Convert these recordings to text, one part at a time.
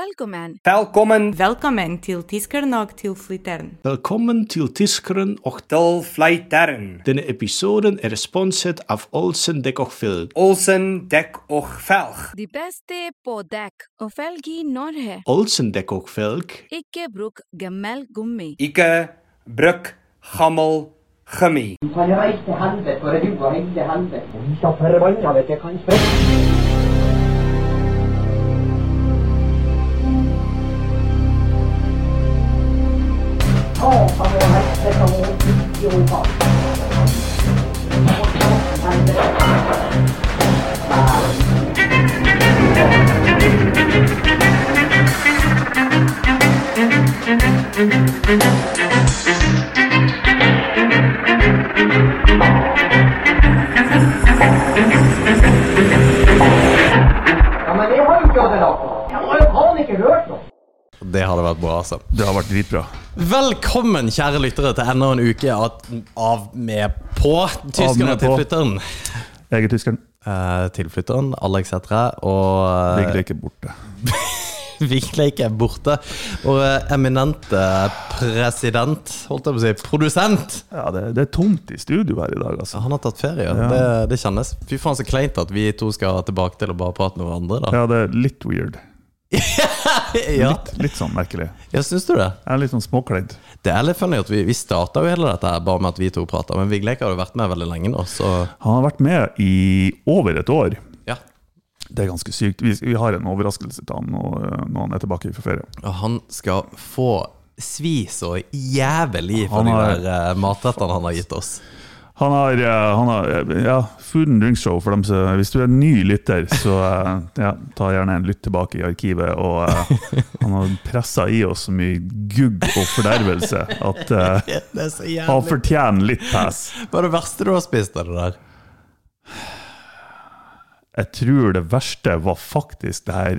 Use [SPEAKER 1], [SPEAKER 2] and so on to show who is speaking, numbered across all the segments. [SPEAKER 1] Velkommen.
[SPEAKER 2] Velkommen
[SPEAKER 3] Velkommen til Tiskernok til Flittern.
[SPEAKER 4] Velkommen til Tiskeren och
[SPEAKER 2] til Flytern.
[SPEAKER 4] denna episoden är sponset av Olsen Däck och Filk.
[SPEAKER 2] Olsen dek och velg.
[SPEAKER 1] De beste på dekk og felg i Norge.
[SPEAKER 4] Olsen Däck och Filk
[SPEAKER 1] Ikke bruk gammel gummi.
[SPEAKER 2] Ike, bruk, gammel, gummi.
[SPEAKER 5] kan reise til helvete, for du har reist til helvete. Vi skal forbanna vet jeg kan sprette. Ja, men jeg har jo ikke hatt det nok. Jeg har jo faen ikke hørt noe.
[SPEAKER 6] Det hadde vært bra, altså.
[SPEAKER 7] Det har vært dritbra.
[SPEAKER 6] Velkommen, kjære lyttere, til enda en uke av, av med på Tyskerne
[SPEAKER 7] med på.
[SPEAKER 6] til flytteren.
[SPEAKER 7] Jeg er tyskeren.
[SPEAKER 6] Eh, tilflytteren, Alex heter jeg, og
[SPEAKER 7] Ligger ikke borte.
[SPEAKER 6] Vigleik er borte. Vår eh, eminente president, holdt jeg på å si, produsent,
[SPEAKER 7] Ja, det, det er tomt i studio her i dag, altså.
[SPEAKER 6] han har tatt ferie. Det, det kjennes. Fy faen, så kleint at vi to skal tilbake til å bare prate med hverandre, da.
[SPEAKER 7] Ja, det er litt weird.
[SPEAKER 6] Ja,
[SPEAKER 7] Litt, litt sånn merkelig.
[SPEAKER 6] ja syns du det?
[SPEAKER 7] Jeg er litt sånn småkleint.
[SPEAKER 6] Det er litt funny at vi, vi starta jo hele dette her bare med at vi to prata, men Vigleik har jo vært med veldig lenge nå, så
[SPEAKER 7] Han har vært med i over et år.
[SPEAKER 6] ja.
[SPEAKER 7] Det er ganske sykt. Vi, vi har en overraskelse til han når, når han er tilbake fra ferie.
[SPEAKER 6] Og han skal få svi så jævlig for
[SPEAKER 7] Han
[SPEAKER 6] de
[SPEAKER 7] har-
[SPEAKER 6] der eh, matrettene han har gitt oss.
[SPEAKER 7] Han har, eh, han har eh, ja, Food and Drink Show for dem som Hvis du er ny lytter, så eh, ja, ta gjerne en lytt tilbake i arkivet. Og eh, han har pressa i oss så mye gugg og fordervelse at eh,
[SPEAKER 6] Det er så
[SPEAKER 7] han fortjener litt pass.
[SPEAKER 6] Hva er det verste du har spist av det der?
[SPEAKER 7] Jeg tror det verste var faktisk det her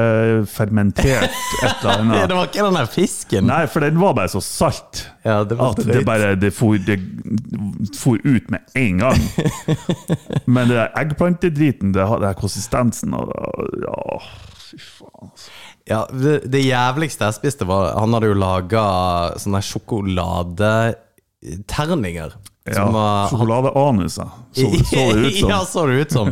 [SPEAKER 7] eggplantefermentert et eller
[SPEAKER 6] Det
[SPEAKER 7] annet.
[SPEAKER 6] var ikke den der fisken.
[SPEAKER 7] Nei, for den var bare så salt
[SPEAKER 6] Ja, det var
[SPEAKER 7] at
[SPEAKER 6] så
[SPEAKER 7] det
[SPEAKER 6] drøyt.
[SPEAKER 7] bare det for, det for ut med en gang. Men det der eggplantedriten, det har den konsistensen og ja, Fy faen, altså.
[SPEAKER 6] Ja, det, det jævligste jeg spiste, var Han hadde jo laga sånne sjokoladeterninger.
[SPEAKER 7] Ja,
[SPEAKER 6] eh,
[SPEAKER 7] Sjokoladeanuser, så, så det ut som.
[SPEAKER 6] ja, så det ut som.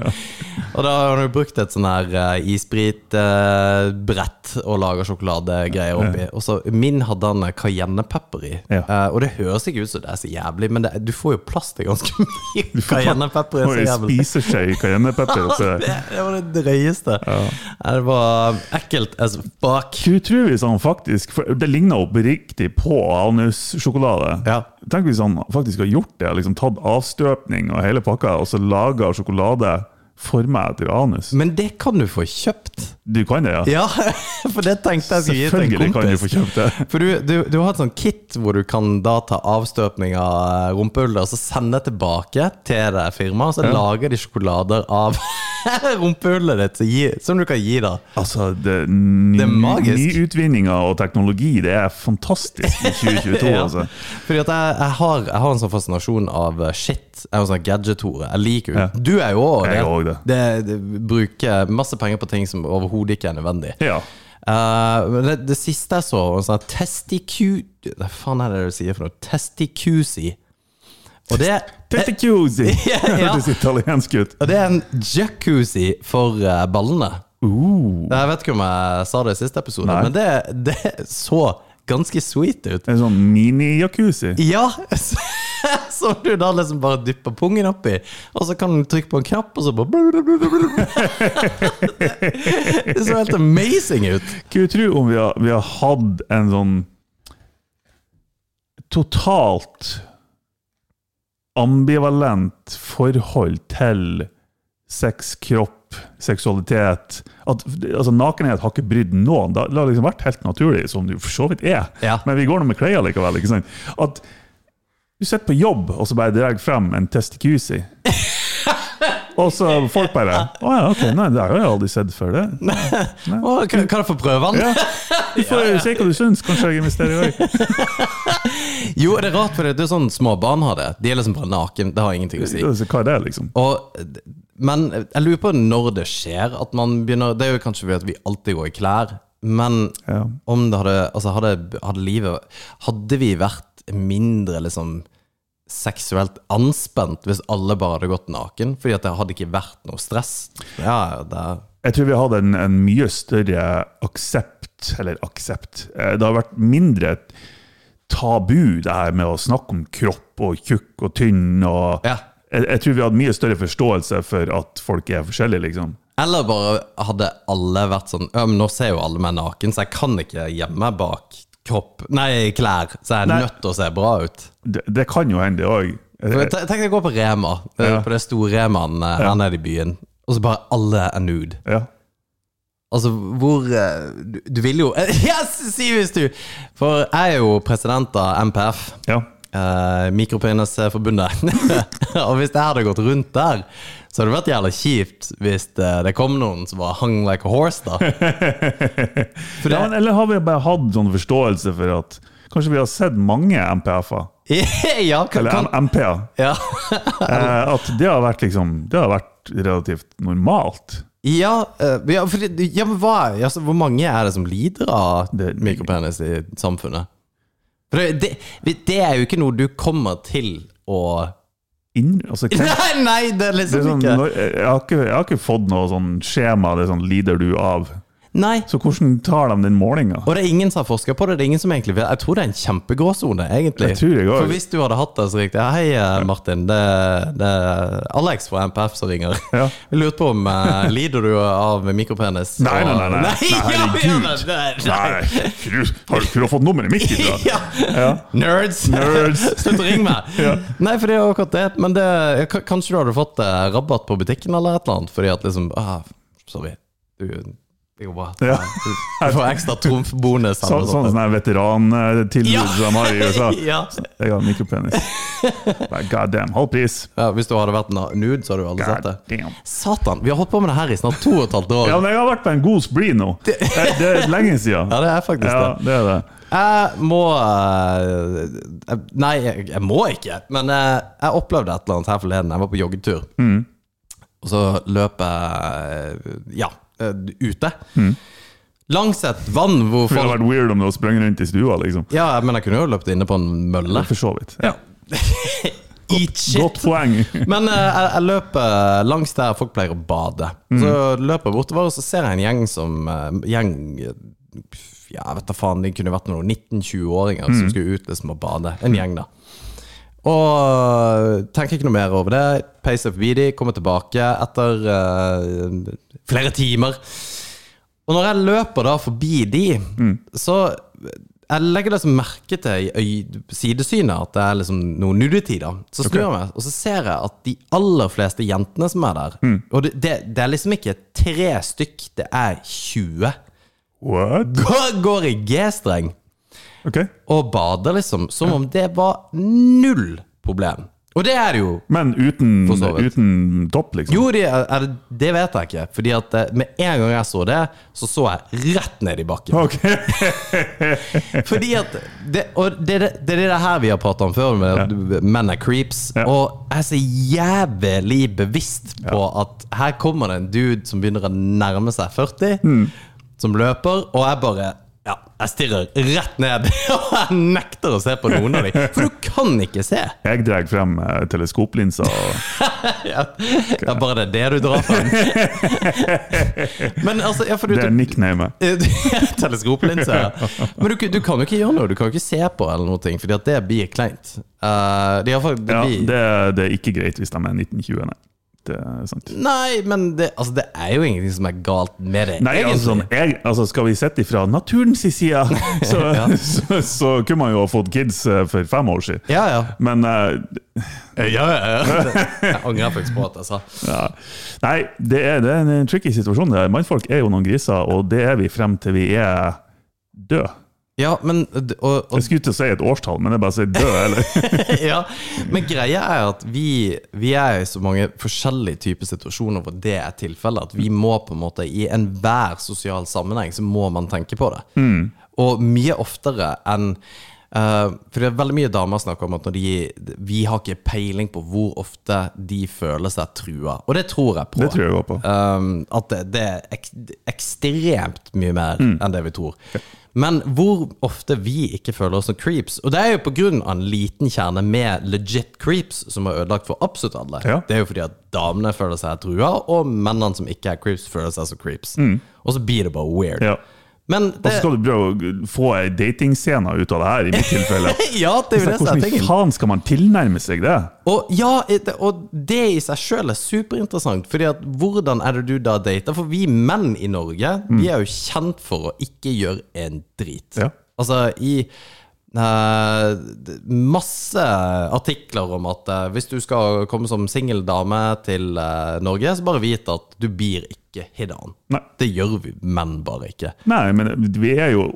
[SPEAKER 6] Og da har du brukt et sånn her eh, isbritbrett eh, og laga sjokoladegreier oppi. Og så min hadde han eh, cayennepepper i.
[SPEAKER 7] Ja.
[SPEAKER 6] Eh, og det høres ikke ut som det er så jævlig, men det, du får jo plass til ganske mye cayennepepper.
[SPEAKER 7] Og
[SPEAKER 6] er
[SPEAKER 7] en
[SPEAKER 6] så jævlig.
[SPEAKER 7] spiseskje cayennepepper oppi
[SPEAKER 6] Det,
[SPEAKER 7] der.
[SPEAKER 6] det var det drøyeste. Nei, Det var ekkelt altså, as fuck.
[SPEAKER 7] Hva tror vi sånn faktisk for Det ligner oppriktig på anussjokolade.
[SPEAKER 6] Ja.
[SPEAKER 7] Tenk hvis han faktisk har gjort det, liksom tatt avstøpning og hele pakka, og så laga sjokolade forma etter anus.
[SPEAKER 6] Men det kan du få kjøpt.
[SPEAKER 7] Du kan det, ja?
[SPEAKER 6] Ja, for det tenkte jeg skulle gi til en kompis.
[SPEAKER 7] Selvfølgelig kan du få kjøpt det.
[SPEAKER 6] For du, du, du har et sånn kit hvor du kan da ta avstøpning av eh, rumpehullet og så sende det tilbake til det firmaet, og så lager de sjokolader av rumpehullet ditt som, gi, som du kan gi da.
[SPEAKER 7] Altså, det, ny,
[SPEAKER 6] Det er magisk.
[SPEAKER 7] Nyutvinninger og teknologi, det er fantastisk i 2022,
[SPEAKER 6] Ja.
[SPEAKER 7] altså.
[SPEAKER 6] Fordi at jeg, jeg, har, jeg har en sånn fascinasjon av eh, shit. Jeg er en sånn gadget-hore. Jeg liker jo Du er jo òg
[SPEAKER 7] Jeg er også det.
[SPEAKER 6] det. det. Bruker masse penger på ting som overhodet ikke er nødvendig.
[SPEAKER 7] Ja.
[SPEAKER 6] Eh, men det, det siste jeg så, var en sånn testicu... Hva faen er det du sier for noe? Testicusi. Og det
[SPEAKER 7] Testicusi!
[SPEAKER 6] Eh, Ja, ja.
[SPEAKER 7] Hørtes italiensk ut.
[SPEAKER 6] Og det er en jacuzzi for eh, ballene.
[SPEAKER 7] Uh,
[SPEAKER 6] Jeg vet ikke om jeg sa det i siste episode,
[SPEAKER 7] Nei.
[SPEAKER 6] men det, det så ganske sweet ut.
[SPEAKER 7] en sånn mini-jacuzzi.
[SPEAKER 6] Ja! Som du da liksom bare dypper pungen oppi, og så kan du trykke på en knapp, og så bare Det, det så helt amazing ut.
[SPEAKER 7] Hva du tror om vi har, vi har hatt en sånn totalt ambivalent forhold til sex, kropp, seksualitet at, altså Nakenhet har ikke brydd noen. Det har liksom vært helt naturlig, som det jo for så vidt er.
[SPEAKER 6] Ja.
[SPEAKER 7] Men vi går nå med klær likevel. ikke sant? At du sitter på jobb, og så bare drar frem en testikusi. og så folk bare Å ja, ok, nei, det har jeg aldri sett før. det.
[SPEAKER 6] Å, kan, kan jeg få prøve den?
[SPEAKER 7] Ja. Du får se hva du syns. Kanskje jeg investerer i dag.
[SPEAKER 6] Jo, det er rart, for det er sånn små barn har det. De er liksom bare naken, det har ingenting å si.
[SPEAKER 7] Altså, Hva er det, liksom?
[SPEAKER 6] Og Men jeg lurer på når det skjer at man begynner Det er jo kanskje ved at vi alltid går i klær, men
[SPEAKER 7] Ja.
[SPEAKER 6] om det hadde Altså, hadde, hadde livet Hadde vi vært mindre liksom seksuelt anspent hvis alle bare hadde gått naken? Fordi at det hadde ikke vært noe stress. Ja, det er
[SPEAKER 7] Jeg tror vi har hatt en, en mye større aksept, eller aksept Eh, Det har vært mindre tabu, det her med å snakke om kropp og tjukk og tynn. Og
[SPEAKER 6] Ja.
[SPEAKER 7] jeg, jeg tror vi hadde mye større forståelse for at folk er forskjellige, liksom.
[SPEAKER 6] Eller bare hadde alle vært sånn «Ja, men Nå ser jo alle meg naken, så jeg kan ikke gjemme meg bak kropp Nei, klær, så jeg er
[SPEAKER 7] Nei.
[SPEAKER 6] nødt til å se bra ut.
[SPEAKER 7] Det, det kan jo hende, det òg.
[SPEAKER 6] Tenk tenk deg å gå på Rema, eh,
[SPEAKER 7] Ja.
[SPEAKER 6] på det store Remaen eh, her nede i byen, og så bare alle er nude.
[SPEAKER 7] Ja.
[SPEAKER 6] Altså, hvor eh, Du, du vil jo Yes, Sivis, du! For jeg er jo president av MPF.
[SPEAKER 7] ja.
[SPEAKER 6] Eh, Mikropenisforbundet. og hvis det hadde gått rundt der, så hadde det vært jævla kjipt hvis det, det kom noen som var hung like a horse, da. For
[SPEAKER 7] Ja,
[SPEAKER 6] det,
[SPEAKER 7] men, eller har vi bare hatt sånn forståelse for at Kanskje vi har sett mange MPF-er,
[SPEAKER 6] ja, kan,
[SPEAKER 7] eller
[SPEAKER 6] kan,
[SPEAKER 7] M- MP-er.
[SPEAKER 6] ja.
[SPEAKER 7] Eh, at det har vært liksom Det har vært relativt normalt.
[SPEAKER 6] Ja, eh, ja, fordi, ja, men hva er, altså, hvor mange er det som lider av
[SPEAKER 7] Det-
[SPEAKER 6] mikropenis i samfunnet? For det, det, vi- det er jo ikke noe du kommer til å
[SPEAKER 7] Inn, altså, hvem-
[SPEAKER 6] Nei, nei, det er
[SPEAKER 7] Det er
[SPEAKER 6] liksom
[SPEAKER 7] sånn,
[SPEAKER 6] ikke
[SPEAKER 7] når- jeg, har ikke, jeg har ikke fått noe sånn skjema det er sånn lider du av.
[SPEAKER 6] Nei.
[SPEAKER 7] Så hvordan tar de den målinga?
[SPEAKER 6] Og det er ingen som har forska på det. det er ingen som egentlig vet. Jeg tror det er en kjempegråsone, egentlig.
[SPEAKER 7] Jeg tror det går.
[SPEAKER 6] For hvis du hadde hatt det så riktig Hei, eh, Martin. Det, det er Alex fra MPF som ringer.
[SPEAKER 7] Ja.
[SPEAKER 6] Vi lurte på om eh, Lider du av mikropenis?
[SPEAKER 7] Nei, nei, nei. nei, nei,
[SPEAKER 6] ja, ja,
[SPEAKER 7] herregud!
[SPEAKER 6] nei, nei.
[SPEAKER 7] Nei, fru- har du ikke fått nummeret mitt? i dag?
[SPEAKER 6] Ja. Nerds!
[SPEAKER 7] Nerds.
[SPEAKER 6] Slutt å ringe meg! Nei, for det er jo akkurat det. Men det, k- kanskje du hadde fått eh, rabatt på butikken eller et eller annet, fordi at liksom ah, Sorry. Du, det går bra.
[SPEAKER 7] Ja.
[SPEAKER 6] Du får ekstra trumfbonus. eller
[SPEAKER 7] Så,
[SPEAKER 6] noe
[SPEAKER 7] sånn
[SPEAKER 6] sånt.
[SPEAKER 7] sånn veterantilbud
[SPEAKER 6] Ja.
[SPEAKER 7] som de har i USA.
[SPEAKER 6] Ja.
[SPEAKER 7] Jeg har mikropenis. Nei, God damn, halv pris!
[SPEAKER 6] Ja, hvis du hadde vært na- nude, så hadde du aldri sett
[SPEAKER 7] God
[SPEAKER 6] det.
[SPEAKER 7] damn.
[SPEAKER 6] Satan, vi har holdt på med det her i snart to og et halvt år.
[SPEAKER 7] Ja, men jeg har vært på en god spree nå. Det, det er lenge siden.
[SPEAKER 6] Ja, det er faktisk
[SPEAKER 7] Ja,
[SPEAKER 6] det.
[SPEAKER 7] det er det.
[SPEAKER 6] Jeg må eh, eh, Nei, jeg, jeg må ikke, men eh, jeg opplevde et eller annet her forleden. Jeg var på joggetur,
[SPEAKER 7] Mm.
[SPEAKER 6] og så løp jeg ja, eh, ute. Langs et vann hvor
[SPEAKER 7] Mm. Det hadde
[SPEAKER 6] folk
[SPEAKER 7] vært weird om du hadde sprunget rundt i stua, liksom.
[SPEAKER 6] Ja, men jeg kunne jo løpt inne på en mølle.
[SPEAKER 7] For så vidt. Ja.
[SPEAKER 6] Eat shit!
[SPEAKER 7] Godt poeng.
[SPEAKER 6] Men eh, jeg, jeg løper langs der folk pleier å bade. Så løper jeg bortover, og så ser jeg en gjeng som eh, Gjeng eh, Ja, jeg vet da faen, de kunne vært noen 19-20-åringer som skulle ut liksom og bade. En gjeng, da. Og eh, tenker ikke noe mer over det. Peiser forbi de, kommer tilbake etter eh, flere timer. Og når jeg løper da forbi de, så jeg legger liksom merke til i øy- sidesynet at det er liksom noe nudity. da Så snur jeg meg, og så ser jeg at de aller fleste jentene som er der Og det, det, det er liksom ikke tre stykk, det er 20.
[SPEAKER 7] What?
[SPEAKER 6] Går, går i G-streng
[SPEAKER 7] Ok.
[SPEAKER 6] og bader, liksom. Som om det var null problem. Og det er det jo.
[SPEAKER 7] Men uten,
[SPEAKER 6] For så vidt.
[SPEAKER 7] uten topp, liksom?
[SPEAKER 6] Jo, det, er, er det- det vet jeg ikke. Fordi at eh, med en gang jeg så det, så så jeg rett ned i bakken.
[SPEAKER 7] Ok.
[SPEAKER 6] Fordi at det, og det, er det, det er det her vi har pratet om før, med at menn er creeps.
[SPEAKER 7] Ja.
[SPEAKER 6] Og jeg er så jævlig bevisst på at her kommer det en dude som begynner å nærme seg 40,
[SPEAKER 7] Mm.
[SPEAKER 6] som løper, og jeg bare ja, jeg stirrer rett ned, og jeg nekter å se på noen av dem. For du kan ikke se!
[SPEAKER 7] Jeg drar frem eh, teleskoplinsa. og-
[SPEAKER 6] Ja, ja, bare det er det du drar frem. Men altså, ja, for du,
[SPEAKER 7] Det er
[SPEAKER 6] du,
[SPEAKER 7] nicknamet.
[SPEAKER 6] Teleskoplinse. ja. Men du, du kan jo ikke gjøre noe. Du kan jo ikke se på eller noe, fordi at det blir kleint. Eh, det er faktisk, det
[SPEAKER 7] Ja,
[SPEAKER 6] blir,
[SPEAKER 7] det, er- det er ikke greit hvis de er 1920, nei. Det er sant.
[SPEAKER 6] Nei, men det, altså, det er jo ingenting som er galt med det,
[SPEAKER 7] Nei, altså, sånn, jeg, altså skal vi sette ifra naturens side, så, så, så kunne man jo ha fått kids eh, for fem år siden.
[SPEAKER 6] Ja, ja.
[SPEAKER 7] Men eh,
[SPEAKER 6] ja, ja, ja. Jeg angrer faktisk på at jeg sa
[SPEAKER 7] Ja. Nei, det er, det er en tricky situasjon. det her. Mannfolk er jo noen griser, og det er vi frem til vi er døde.
[SPEAKER 6] Ja, men d- og, og,
[SPEAKER 7] Jeg skulle ikke si et årstall, men det er bare å si død, eller?
[SPEAKER 6] ja. Men greia er at vi, vi er i så mange forskjellige typer situasjoner hvor det er tilfellet, at vi må på en måte i enhver sosial sammenheng så må man tenke på det. Og mye oftere enn Eh, for det er veldig mye damer snakker om at når de, vi har ikke peiling på hvor ofte de føler seg trua. Og det tror jeg på.
[SPEAKER 7] Det tror jeg også på.
[SPEAKER 6] Um, at det, det er ek ekstremt mye mer enn det vi tror. Men hvor ofte vi ikke føler oss som creeps. Og det er jo på grunn av en liten kjerne med legit creeps som er ødelagt for absolutt alle.
[SPEAKER 7] Ja.
[SPEAKER 6] Det er jo fordi at damene føler seg trua, og mennene som ikke er creeps, føler seg som creeps. Og så blir det bare weird.
[SPEAKER 7] Ja.
[SPEAKER 6] Men
[SPEAKER 7] Og
[SPEAKER 6] det,
[SPEAKER 7] så skal du prøve å få ei datingscene ut av det her, i mitt tilfelle.
[SPEAKER 6] ja, det er jo det som er
[SPEAKER 7] Hvordan i
[SPEAKER 6] tingen.
[SPEAKER 7] faen skal man tilnærme seg det?
[SPEAKER 6] Og ja, det- og det i seg sjøl er superinteressant. Fordi at hvordan er det du da dater? For vi menn i Norge Vi er jo kjent for å ikke gjøre en drit.
[SPEAKER 7] Mm. Ja.
[SPEAKER 6] Altså i eh, d- masse artikler om at eh, hvis du skal komme som singel dame til eh, Norge, så bare vit at du blir ikke hit on.
[SPEAKER 7] Nei.
[SPEAKER 6] Det gjør vi menn bare ikke.
[SPEAKER 7] Nei, men vi er jo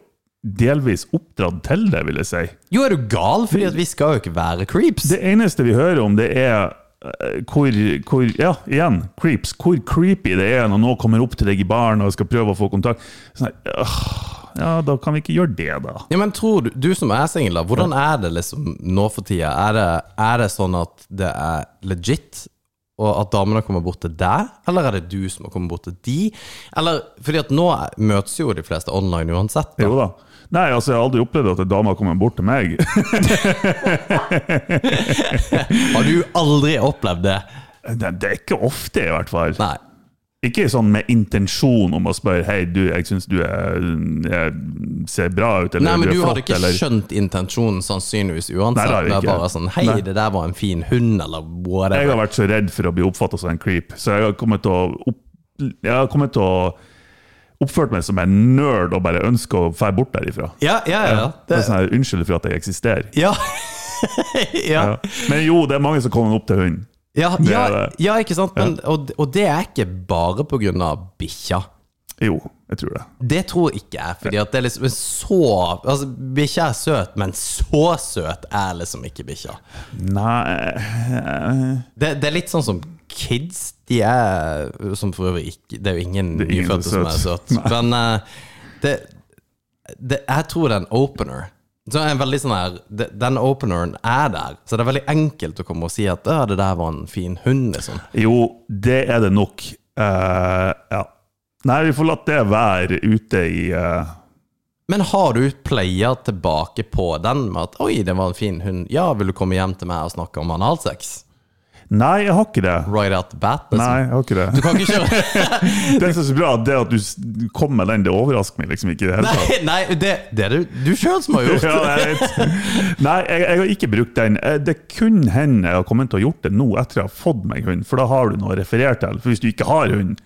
[SPEAKER 7] delvis oppdratt til det, vil jeg si.
[SPEAKER 6] Jo, er du gal? Fordi at vi skal jo ikke være creeps.
[SPEAKER 7] Det eneste vi hører om, det er eh, hvor, hvor Ja, igjen, creeps. Hvor creepy det er når noen kommer opp til deg i baren og skal prøve å få kontakt. Sånn, her, «Åh, ja, da kan vi ikke gjøre det, da.
[SPEAKER 6] Ja, men tror du, du som er singel, da, hvordan er det liksom nå for tida? Er det, er det sånn at det er legit, og at damene kommer bort til deg? Eller er det du som kommer bort til de? Eller, fordi at nå møtes jo de fleste online uansett. Da.
[SPEAKER 7] Jo da. Nei, altså, jeg har aldri opplevd at en dame har kommet bort til meg.
[SPEAKER 6] Har du aldri opplevd det?
[SPEAKER 7] Det det er ikke ofte, i hvert fall.
[SPEAKER 6] Nei.
[SPEAKER 7] Ikke sånn med intensjon om å spørre Hei, du, jeg syns du er, jeg ser bra ut, eller
[SPEAKER 6] Nei, men
[SPEAKER 7] du
[SPEAKER 6] du
[SPEAKER 7] er flott,
[SPEAKER 6] hadde ikke
[SPEAKER 7] eller
[SPEAKER 6] skjønt intensjonen sannsynligvis
[SPEAKER 7] Nei,
[SPEAKER 6] uansett.
[SPEAKER 7] det har jeg
[SPEAKER 6] det er
[SPEAKER 7] ikke.
[SPEAKER 6] bare sånn Hei,
[SPEAKER 7] Nei.
[SPEAKER 6] det der var en fin hund, eller
[SPEAKER 7] Jeg har
[SPEAKER 6] whatever.
[SPEAKER 7] vært så redd for å bli oppfatta som en creep, så jeg har kommet til å, opp, jeg har kommet til å oppført meg som en nerd og bare ønsker å dra bort derifra.
[SPEAKER 6] Ja, ja, ja.
[SPEAKER 7] Det
[SPEAKER 6] Det,
[SPEAKER 7] er sånn her, Unnskyld for at jeg eksisterer.
[SPEAKER 6] ja. ja.
[SPEAKER 7] Ja. Men jo, det er mange som kommer opp til hunden.
[SPEAKER 6] Ja,
[SPEAKER 7] Det
[SPEAKER 6] ja,
[SPEAKER 7] er det.
[SPEAKER 6] ja ikke sant? Men, og, og det er ikke bare på grunn av bikkja.
[SPEAKER 7] Jo, jeg tror det.
[SPEAKER 6] Det tror ikke jeg, fordi at det er liksom så Altså, bikkja er søt, men så søt er liksom ikke bikkja.
[SPEAKER 7] Nei
[SPEAKER 6] Det, det er litt sånn som kids. De er Som for øvrig ikke Det er jo ingen
[SPEAKER 7] Det er ingen
[SPEAKER 6] nyfødte som er
[SPEAKER 7] som er
[SPEAKER 6] søt. Men eh, det, det Jeg tror det er en opener. Så er en veldig sånn her de- Den openeren er der, så det er veldig enkelt å komme og si at «Å, 'det der var en fin hund', liksom.
[SPEAKER 7] Jo, det er det nok. Eh, ja. Nei, vi får latt det være ute i eh,
[SPEAKER 6] Men har du playa tilbake på den med at 'oi, det var en fin hund', ja, vil du komme hjem til meg og snakke om analsex?
[SPEAKER 7] Nei, jeg har ikke det.
[SPEAKER 6] Right out the bat? Liksom.
[SPEAKER 7] Nei, jeg har ikke
[SPEAKER 6] Du
[SPEAKER 7] det.
[SPEAKER 6] kan ikke kjøre
[SPEAKER 7] Det som er så bra, det at du s- du kom med den, det overrasker meg liksom ikke. i det hele tatt.
[SPEAKER 6] Nei, nei det, det er du, du sjøl som har gjort
[SPEAKER 7] Ja,
[SPEAKER 6] det.
[SPEAKER 7] jeg vet. Nei, jeg, jeg har ikke brukt den. Eh, Det kun hende jeg har kommet til å gjort det nå etter jeg har fått meg hund, for da har du noe å referere til. For hvis du ikke har hund,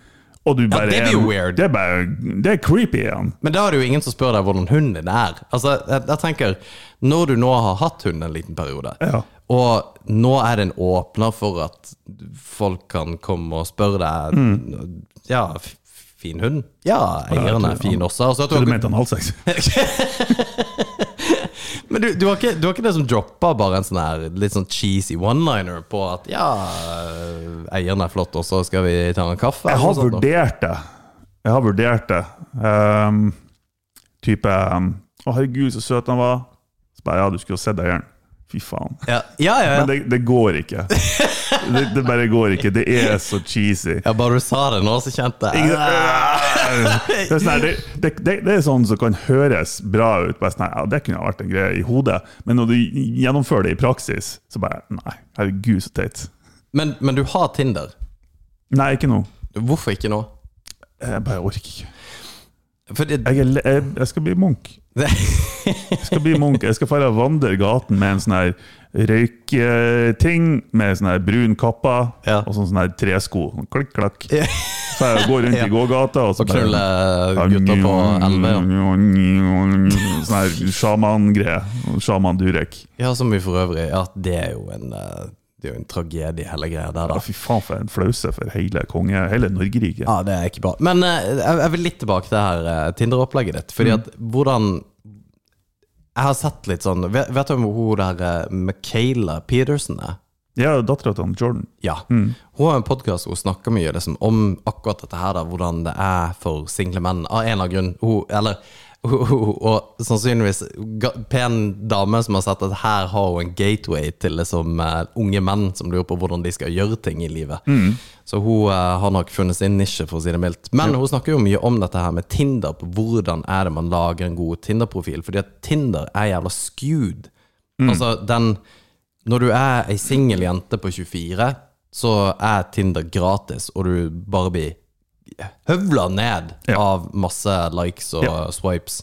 [SPEAKER 7] og du bare
[SPEAKER 6] det
[SPEAKER 7] er
[SPEAKER 6] blir jo
[SPEAKER 7] en-
[SPEAKER 6] weird.
[SPEAKER 7] Det er, bare, det er creepy igjen.
[SPEAKER 6] Men da er det jo ingen som spør deg hvordan hunden din er. Altså, jeg, jeg tenker, Når du nå har hatt hund en liten periode,
[SPEAKER 7] Ja.
[SPEAKER 6] og nå er det en åpner for at folk kan komme og spørre deg
[SPEAKER 7] Mm.
[SPEAKER 6] Ja, f- fin hund? Ja, eieren er fin også. Og så at du
[SPEAKER 7] Så
[SPEAKER 6] har
[SPEAKER 7] du mente analsex?
[SPEAKER 6] Men du, du, har ikke, du har ikke det som dropper bare en sånn her litt sånn cheesy one-liner på at ja, eh, eieren er flott, og så skal vi ta en kaffe?
[SPEAKER 7] Jeg
[SPEAKER 6] eller noe
[SPEAKER 7] har
[SPEAKER 6] sånt da?
[SPEAKER 7] vurdert det. Jeg har vurdert det. Ehm, type um, Å, herregud, så søt han var. Så bare, ja, du skulle jo sett eieren. Fy faen.
[SPEAKER 6] Ja, ja, ja. ja.
[SPEAKER 7] Men det, det går ikke. Det, det bare går ikke. Det er så cheesy.
[SPEAKER 6] ja bare du sa det nå, så kjente jeg
[SPEAKER 7] Ikke- Det er, sånn her, det, det, det, det er sånn som kan høres bra ut. Bare sånn her, ja, det kunne ha vært en greie i hodet, men når du gjennomfører det i praksis, så bare Nei, herregud, så teit.
[SPEAKER 6] men, men du har Tinder.
[SPEAKER 7] Nei, ikke nå.
[SPEAKER 6] Hvorfor ikke nå?
[SPEAKER 7] Jeg bare orker ikke.
[SPEAKER 6] For det,
[SPEAKER 7] Jeg, er le- jeg, jeg skal bli munk.
[SPEAKER 6] det,
[SPEAKER 7] Jeg skal bli munk. Jeg skal fare og vandre gaten med en sånn her røykting, med sånn her brun kappa
[SPEAKER 6] Ja.
[SPEAKER 7] og sånn sånn her tresko. Sånn Klikk, klakk. Så jeg går rundt
[SPEAKER 6] Ja.
[SPEAKER 7] i gågata og så
[SPEAKER 6] å knulle
[SPEAKER 7] bare-
[SPEAKER 6] gutter på 11 ja.
[SPEAKER 7] Sånn her sjaman-greie. Sjaman Durek.
[SPEAKER 6] ja, som vi for øvrig Ja, det er jo en eh, det er jo en tragedie, hele greia der,
[SPEAKER 7] Ja,
[SPEAKER 6] da.
[SPEAKER 7] fy faen, for en flause for hele konge, hele Norgerike.
[SPEAKER 6] Ja, det er ikke bra. Men eh, jeg, jeg vil litt tilbake til det her eh, Tinder-opplegget ditt. Fordi at hvordan Jeg har sett litt sånn Vet, vet du om hun der eh, Michaela Peterson er?
[SPEAKER 7] Ja, dattera til han Jordan.
[SPEAKER 6] Ja. Hun har en podkast hvor hun snakker mye liksom, om akkurat dette her, da, hvordan det er for single menn. Av en eller annen grunn. Hun, eller, og sannsynligvis ga- pen dame som har sett at her har hun en gateway til liksom, eh, unge menn som lurer på hvordan de skal gjøre ting i livet. Så hun eh, har nok funnet sin nisje, for å si det mildt. Men hun snakker jo mye om dette her med Tinder, på hvordan er det man lager en god Tinder-profil. Fordi at Tinder er jævla skewed. Altså, den Når du er ei singel jente på 24, så er Tinder gratis, og du bare blir høvla ned
[SPEAKER 7] Ja.
[SPEAKER 6] av masse likes og
[SPEAKER 7] Ja.
[SPEAKER 6] swipes.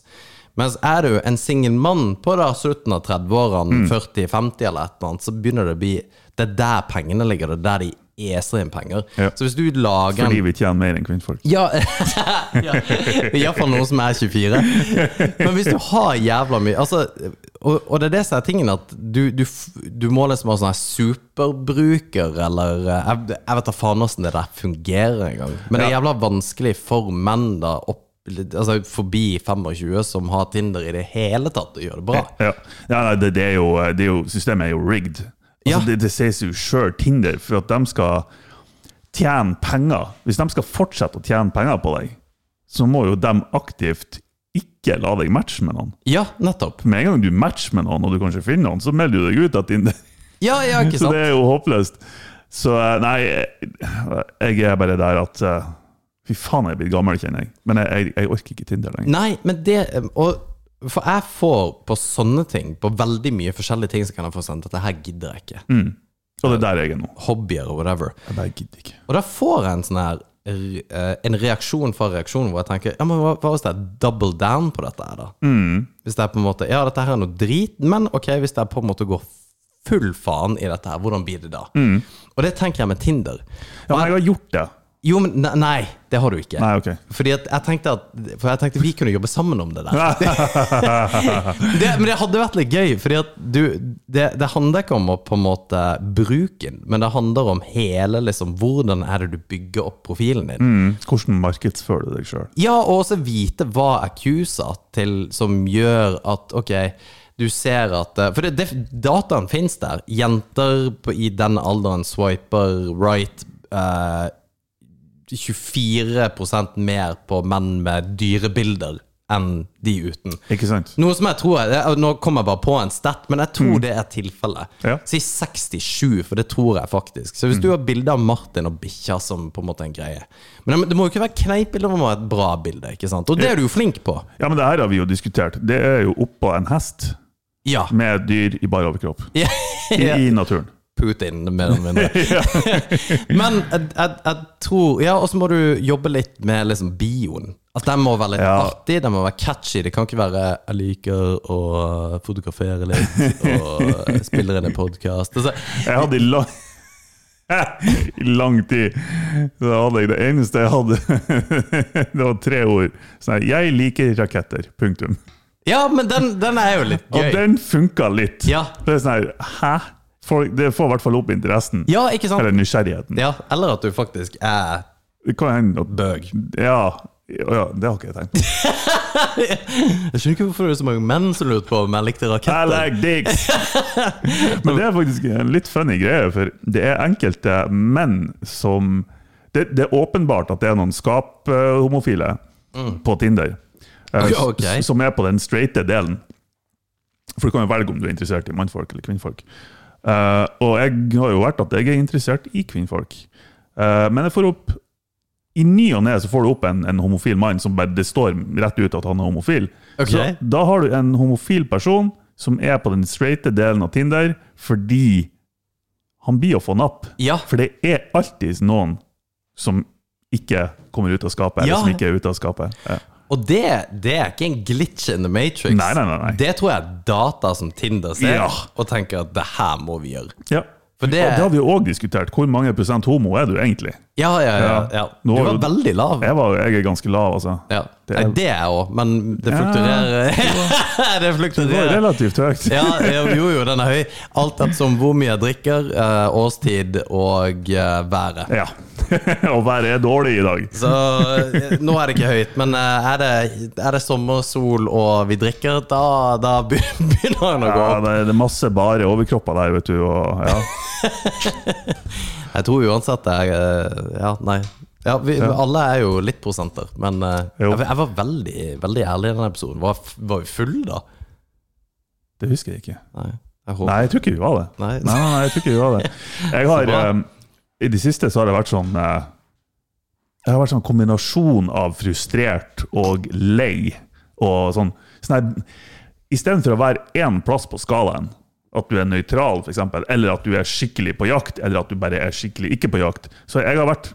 [SPEAKER 6] Mens er du en singel mann på da slutten av 30-årene,
[SPEAKER 7] Mm.
[SPEAKER 6] 40-50 eller et eller annet, så begynner det å bli Det er der pengene ligger, det er der de eser inn penger.
[SPEAKER 7] Ja.
[SPEAKER 6] Så hvis du lager en
[SPEAKER 7] Fordi vi tjener mer enn kvinnfolk.
[SPEAKER 6] ja, ja. Iallfall noen som er 24. Men hvis du har jævla mye altså, og, og det er det som er tingen, at du, du, f- du må liksom ha sånn her superbruker, eller eh, Jeg, jeg vet da faen åssen det der fungerer engang. Men det er jævla vanskelig for menn da opp, altså, forbi 25 som har Tinder i det hele tatt, å gjøre det bra.
[SPEAKER 7] Ja, ja nei, det, det, er jo, eh, det er jo Systemet er jo rigged. Altså,
[SPEAKER 6] Ja.
[SPEAKER 7] det, det sies jo sjøl Tinder, for at de skal tjene penger. Hvis de skal fortsette å tjene penger på deg, så må jo de aktivt ikke la deg matche med noen.
[SPEAKER 6] Ja, nettopp.
[SPEAKER 7] Med en gang du matcher med noen, og du kanskje finner noen, så melder du deg ut av Tinder.
[SPEAKER 6] Ja, ja, ikke
[SPEAKER 7] Så
[SPEAKER 6] sant?
[SPEAKER 7] det er jo håpløst. Så eh, nei, jeg jeg er bare der at eh, Fy faen, jeg er blitt gammel, kjenner jeg. Men jeg, jeg, jeg orker ikke Tinder lenger.
[SPEAKER 6] Nei, men det og, For jeg får på sånne ting, på veldig mye forskjellige ting, så kan jeg få sendt at det her gidder jeg ikke.
[SPEAKER 7] Og det er der jeg er nå.
[SPEAKER 6] Hobbyer og whatever.
[SPEAKER 7] Jeg bare gidder ikke.
[SPEAKER 6] Og da får jeg en sånn her eh, en reaksjon fra reaksjon hvor jeg tenker Ja, men hva, hva hvis det er double down på dette her, da? Hvis det er på en måte Ja, dette her er noe drit, men ok, hvis det er på en måte går full faen i dette her, hvordan blir det da? Og det tenker jeg med Tinder.
[SPEAKER 7] Ja, men jeg har gjort det.
[SPEAKER 6] Jo, men ne- nei, det har du ikke.
[SPEAKER 7] Nei, ok.
[SPEAKER 6] Fordi at jeg tenkte at For jeg tenkte vi kunne jobbe sammen om det der. det, men det hadde vært litt gøy, Fordi at du det, det handler ikke om å på en måte bruken, men det handler om hele liksom Hvordan er det du bygger opp profilen din?
[SPEAKER 7] Hvordan markedsfører du deg sjøl?
[SPEAKER 6] Ja, og også vite hva accuser til som gjør at Ok, du ser at eh, For det, det, dataen finnes der. Jenter på, i den alderen swiper right eh, 24 mer på menn med dyrebilder enn de uten.
[SPEAKER 7] Ikke sant?
[SPEAKER 6] Noe som jeg tror er, eh, Nå kom jeg bare på en stat, men jeg tror det er tilfellet.
[SPEAKER 7] Mm. Ja. Mm.
[SPEAKER 6] Si 67, for det tror jeg faktisk. Så hvis du har bilde av Martin og bikkja som på en måte er en greie Men det må jo ikke være kneipbilde, det må være et bra bilde. ikke sant? Og det er du jo flink på.
[SPEAKER 7] Ja, men det her har vi jo diskutert. Det er jo oppå en hest
[SPEAKER 6] Ja.
[SPEAKER 7] med et dyr i bar overkropp.
[SPEAKER 6] Ja.
[SPEAKER 7] I, I naturen.
[SPEAKER 6] Putin, mer eller mindre. Men jeg, jeg, jeg tror Ja, og så må du jobbe litt med liksom bioen. At den må være litt
[SPEAKER 7] Ja.
[SPEAKER 6] artig, den må være catchy. Det kan ikke være 'jeg liker å fotografere litt' og 'spiller inn en Altså, podkast'.
[SPEAKER 7] Jeg hadde i lang, i lang tid så hadde jeg Det eneste jeg hadde, det var tre ord. Sånn her, 'Jeg liker raketter'. Punktum.
[SPEAKER 6] Ja, men den, den er jo litt
[SPEAKER 7] Og
[SPEAKER 6] gøy.
[SPEAKER 7] den funka litt.
[SPEAKER 6] Ja.
[SPEAKER 7] Det er sånn her, hæ? Folk, det får i hvert fall opp interessen.
[SPEAKER 6] Ja, ikke sant?
[SPEAKER 7] Eller nysgjerrigheten.
[SPEAKER 6] Ja, eller at du faktisk er
[SPEAKER 7] Det kan hende at
[SPEAKER 6] bøg.
[SPEAKER 7] Ja, ja, det har ikke jeg tenkt.
[SPEAKER 6] Jeg skjønner ikke hvorfor det er så mange menn som lurte på om jeg likte
[SPEAKER 7] I
[SPEAKER 6] raketter.
[SPEAKER 7] like dicks! Men det er faktisk en litt funny greie, for det er enkelte menn som Det, det er åpenbart at det er noen skap-homofile på Tinder. eh,
[SPEAKER 6] Ja, ok.
[SPEAKER 7] s- Som er på den straighte delen. For du kan jo velge om du er interessert i mannfolk eller kvinnfolk. Eh, og jeg har jo vært at jeg er interessert i kvinnfolk. Eh, men jeg får opp i ny og ne så får du opp en, en homofil mann som bare, det står rett ut at han er homofil.
[SPEAKER 6] Ok.
[SPEAKER 7] Så da har du en homofil person som er på den straighte delen av Tinder fordi han blir å få napp.
[SPEAKER 6] Ja.
[SPEAKER 7] For det er alltid noen som ikke kommer ut av skapet, eller
[SPEAKER 6] Ja.
[SPEAKER 7] som ikke er ute av skapet. Ja.
[SPEAKER 6] Og det, det er ikke en glitch in the matrix.
[SPEAKER 7] Nei, nei, nei, nei.
[SPEAKER 6] Det tror jeg er data som Tinder ser,
[SPEAKER 7] Ja.
[SPEAKER 6] og tenker at det her må vi gjøre.
[SPEAKER 7] Ja.
[SPEAKER 6] For det,
[SPEAKER 7] Og det har vi jo òg diskutert. Hvor mange prosent homo er du egentlig?
[SPEAKER 6] ja, ja, ja, ja.
[SPEAKER 7] Ja.
[SPEAKER 6] Du
[SPEAKER 7] Nå har
[SPEAKER 6] var
[SPEAKER 7] du-
[SPEAKER 6] veldig lav.
[SPEAKER 7] Jeg, var, jeg er ganske lav, altså.
[SPEAKER 6] Ja.
[SPEAKER 7] Det
[SPEAKER 6] Nei,
[SPEAKER 7] er-
[SPEAKER 6] det er jeg òg, men det
[SPEAKER 7] Ja.
[SPEAKER 6] flukturerer. det
[SPEAKER 7] Det var
[SPEAKER 6] flukturerer.
[SPEAKER 7] relativt høyt.
[SPEAKER 6] Ja, jo, jo, den er høy. Alt ettersom hvor mye jeg drikker, eh, årstid og eh, været.
[SPEAKER 7] Ja. og været er dårlig i dag.
[SPEAKER 6] Så eh, nå er det ikke høyt, men eh, er det, er det sommer, sol og vi drikker, da, da be- begynner den å gå
[SPEAKER 7] Ja,
[SPEAKER 6] opp.
[SPEAKER 7] det er- det er masse bare overkropper der, vet du. Og, ja.
[SPEAKER 6] Jeg tror uansett det er eh, Ja, nei. Ja, vi,
[SPEAKER 7] Ja.
[SPEAKER 6] Alle er jo litt prosenter, men eh,
[SPEAKER 7] Jo.
[SPEAKER 6] jeg, jeg var veldig, veldig ærlig i den episoden. Var, f- var vi full da?
[SPEAKER 7] Det husker jeg ikke.
[SPEAKER 6] Nei, jeg håper
[SPEAKER 7] Nei, jeg tror ikke vi var det.
[SPEAKER 6] Nei.
[SPEAKER 7] Nei, nei, nei, jeg tror ikke vi var det. Jeg har,
[SPEAKER 6] bra.
[SPEAKER 7] eh, I det siste så har det vært sånn eh, Det har vært sånn kombinasjon av frustrert og lei. Og sånn, sånn her, Istedenfor å være én plass på skalaen, at du er nøytral f.eks., eller at du er skikkelig på jakt, eller at du bare er skikkelig ikke på jakt Så jeg har vært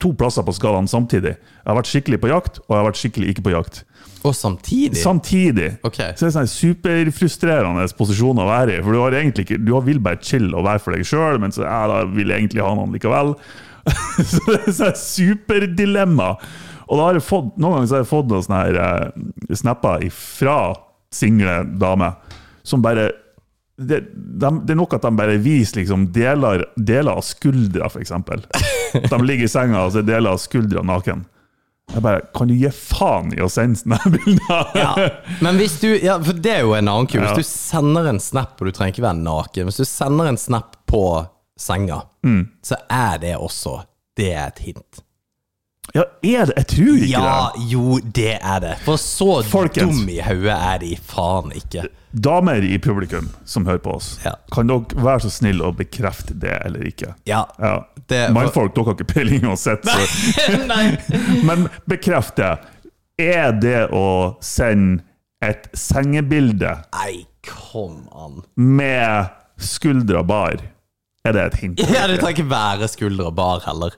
[SPEAKER 7] to plasser på skalaen samtidig. Jeg har vært skikkelig på jakt, og jeg har vært skikkelig ikke på jakt.
[SPEAKER 6] Og samtidig?
[SPEAKER 7] Samtidig.
[SPEAKER 6] Ok.
[SPEAKER 7] Så det er sånn superfrustrerende posisjon å være i. For du har egentlig ikke Du vil bare chille og være for deg sjøl, men så ja, da vil jeg egentlig ha noen likevel. så det er sånn superdilemma. Og da har jeg fått noen ganger så har jeg fått noen sånne her eh, snapper fra single damer som bare det, dem- det er nok at de bare viser liksom deler, deler av skuldra, f.eks. De ligger i senga og så er deler av skuldra naken. Jeg bare Kan du gi faen i å sende sånne bilder?
[SPEAKER 6] Ja. Men hvis du Ja, for det er jo en annen ku. Hvis
[SPEAKER 7] Ja.
[SPEAKER 6] du sender en snap, og du trenger ikke være naken Hvis du sender en snap på senga,
[SPEAKER 7] Mm.
[SPEAKER 6] så er det også Det er et hint.
[SPEAKER 7] Ja, er det? Jeg tror ikke
[SPEAKER 6] Ja,
[SPEAKER 7] det.
[SPEAKER 6] jo, det er det. For så
[SPEAKER 7] Folkens.
[SPEAKER 6] dum i hodet er de faen ikke.
[SPEAKER 7] Damer i publikum som hører på oss,
[SPEAKER 6] Ja.
[SPEAKER 7] kan dere være så snill å bekrefte det eller ikke?
[SPEAKER 6] Ja.
[SPEAKER 7] Ja.
[SPEAKER 6] Det-
[SPEAKER 7] Mannfolk, dere har ikke peiling uansett, så.
[SPEAKER 6] Nei.
[SPEAKER 7] men bekreft det. Er det å sende et sengebilde
[SPEAKER 6] Nei, kom an.
[SPEAKER 7] med skuldra bar? Er det et hint?
[SPEAKER 6] Ja, du trenger ikke være skulder og bar heller.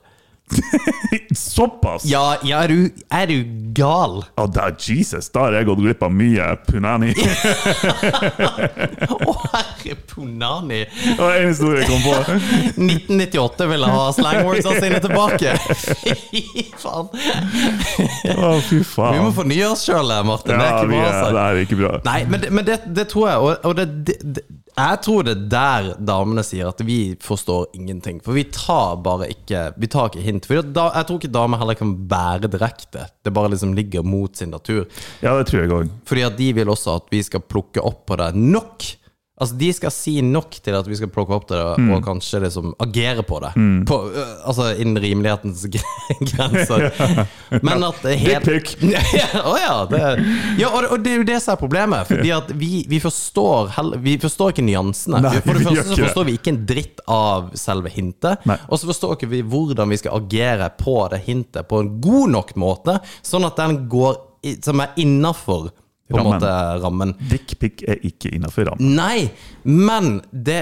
[SPEAKER 7] Såpass?
[SPEAKER 6] Ja, ja er, du, er du gal?
[SPEAKER 7] Ja, da, Jesus, da har jeg gått glipp av mye punani. Det
[SPEAKER 6] Å, herre ponani!
[SPEAKER 7] var eneste ordet jeg kom på.
[SPEAKER 6] 1998 ville ha slangwordsa sine tilbake! Fy faen!
[SPEAKER 7] Å, fy
[SPEAKER 6] Vi må
[SPEAKER 7] faen.
[SPEAKER 6] fornye oss sjøl, Martin. Det er
[SPEAKER 7] Ja,
[SPEAKER 6] ikke
[SPEAKER 7] vi
[SPEAKER 6] bra.
[SPEAKER 7] er,
[SPEAKER 6] altså.
[SPEAKER 7] det er ikke bra.
[SPEAKER 6] Nei, men det, men det, det tror jeg, og, og det, det, det, jeg tror det er der damene sier at vi forstår ingenting. For vi tar bare ikke Vi tar ikke hint. For da, jeg tror ikke damer heller kan være direkte. Det bare liksom ligger mot sin natur.
[SPEAKER 7] Ja, det tror jeg òg.
[SPEAKER 6] Fordi at de vil også at vi skal plukke opp på det nok. Altså De skal si nok til at vi skal plukke opp det og
[SPEAKER 7] Mm.
[SPEAKER 6] kanskje liksom agere på det. På, øh, altså innen rimelighetens gre- grenser. Men at det helt
[SPEAKER 7] Dick
[SPEAKER 6] ja, å ja, det, ja og, og det er jo det som er problemet. Fordi at vi, vi, forstår, hell- vi forstår ikke nyansene.
[SPEAKER 7] Nei,
[SPEAKER 6] for det
[SPEAKER 7] vi
[SPEAKER 6] første
[SPEAKER 7] gjør
[SPEAKER 6] så
[SPEAKER 7] ikke det.
[SPEAKER 6] forstår vi ikke en dritt av selve hintet.
[SPEAKER 7] Nei.
[SPEAKER 6] Og så forstår ikke vi hvordan vi skal agere på det hintet på en god nok måte, sånn at den går i, som er innafor
[SPEAKER 7] Rammen.
[SPEAKER 6] rammen.
[SPEAKER 7] Dickpic er ikke innafor rammen.
[SPEAKER 6] Nei, men det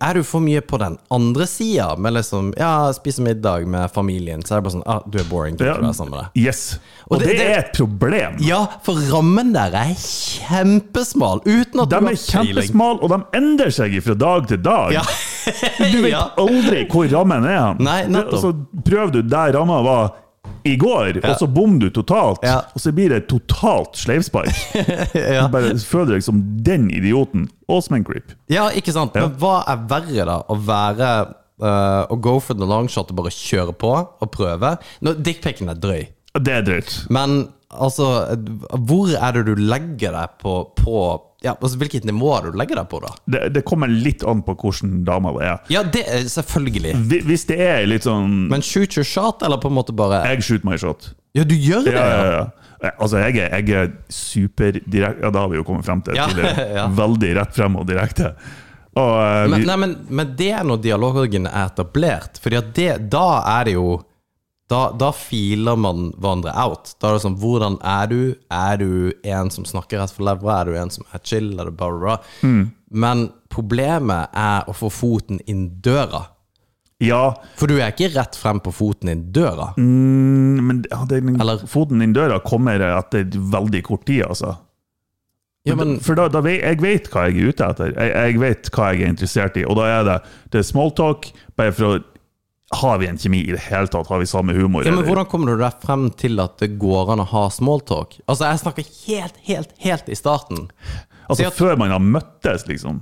[SPEAKER 6] er du for mye på den andre sida, med liksom Ja, spise middag med familien, så er det bare sånn ah, Du er boring, kan ikke være sammen med deg.
[SPEAKER 7] Yes. Og,
[SPEAKER 6] Og det-
[SPEAKER 7] det,
[SPEAKER 6] det-
[SPEAKER 7] er et problem.
[SPEAKER 6] Ja, for rammen der er kjempesmal, uten at du
[SPEAKER 7] De
[SPEAKER 6] har
[SPEAKER 7] er
[SPEAKER 6] peiling.
[SPEAKER 7] kjempesmale, og de endrer seg fra dag til dag.
[SPEAKER 6] Ja.
[SPEAKER 7] Du vet
[SPEAKER 6] ja.
[SPEAKER 7] aldri hvor rammen er. hen.
[SPEAKER 6] Nei, nettopp.
[SPEAKER 7] Og så prøver du der ramma var i går, og så bom du totalt.
[SPEAKER 6] Ja.
[SPEAKER 7] Og så blir det et totalt sleivspark.
[SPEAKER 6] Ja.
[SPEAKER 7] Du bare føler deg som den idioten, og som en creep.
[SPEAKER 6] ja, ikke sant? Men hva er verre, da? Å være eh, Å go for the long shot og bare kjøre på og prøve? Nå, Dickpicen er drøy,
[SPEAKER 7] Det er drøyt.
[SPEAKER 6] men altså Hvor er det du legger deg på, på ja, altså, Hvilket nivå er det du legger deg på, da?
[SPEAKER 7] Det, det kommer litt an på hvordan dama det er.
[SPEAKER 6] Ja, det er selvfølgelig.
[SPEAKER 7] Hvi- Hvis det er litt sånn
[SPEAKER 6] Men shoot your shot, eller på en måte bare
[SPEAKER 7] Jeg skyter meg i shot.
[SPEAKER 6] Ja, du gjør det,
[SPEAKER 7] Ja,
[SPEAKER 6] ja!
[SPEAKER 7] ja, ja. Altså, jeg er, jeg er superdirekte Ja, da har vi jo kommet frem til det
[SPEAKER 6] Ja,
[SPEAKER 7] tidligere.
[SPEAKER 6] ja.
[SPEAKER 7] Veldig rett frem og direkte. Og, eh,
[SPEAKER 6] Men,
[SPEAKER 7] vi,
[SPEAKER 6] nei, men, men det er når dialogen er etablert. Fordi at det, da er det jo da, da filer man hverandre out. Da er det sånn Hvordan er du? Er du en som snakker rett for levra? Er du en som er chill? Er du bla, bla, bla? Men problemet er å få foten inn døra.
[SPEAKER 7] ja,
[SPEAKER 6] For du er ikke rett frem på foten inn døra.
[SPEAKER 7] Mm. men ja, den,
[SPEAKER 6] Eller-
[SPEAKER 7] foten inn døra kommer etter veldig kort tid, altså.
[SPEAKER 6] Ja, men
[SPEAKER 7] For da, da vet, jeg vet hva jeg er ute etter. Jeg, jeg vet hva jeg er interessert i, og da er det, det er smalltalk. Bare for å Har vi en kjemi i det hele tatt? Har vi samme humor?
[SPEAKER 6] Ja, men
[SPEAKER 7] eller?
[SPEAKER 6] Hvordan kommer du deg frem til at det går an å ha smalltalk? Altså, jeg snakker helt, helt, helt i starten. si
[SPEAKER 7] altså,
[SPEAKER 6] at-
[SPEAKER 7] før man har møttes, liksom.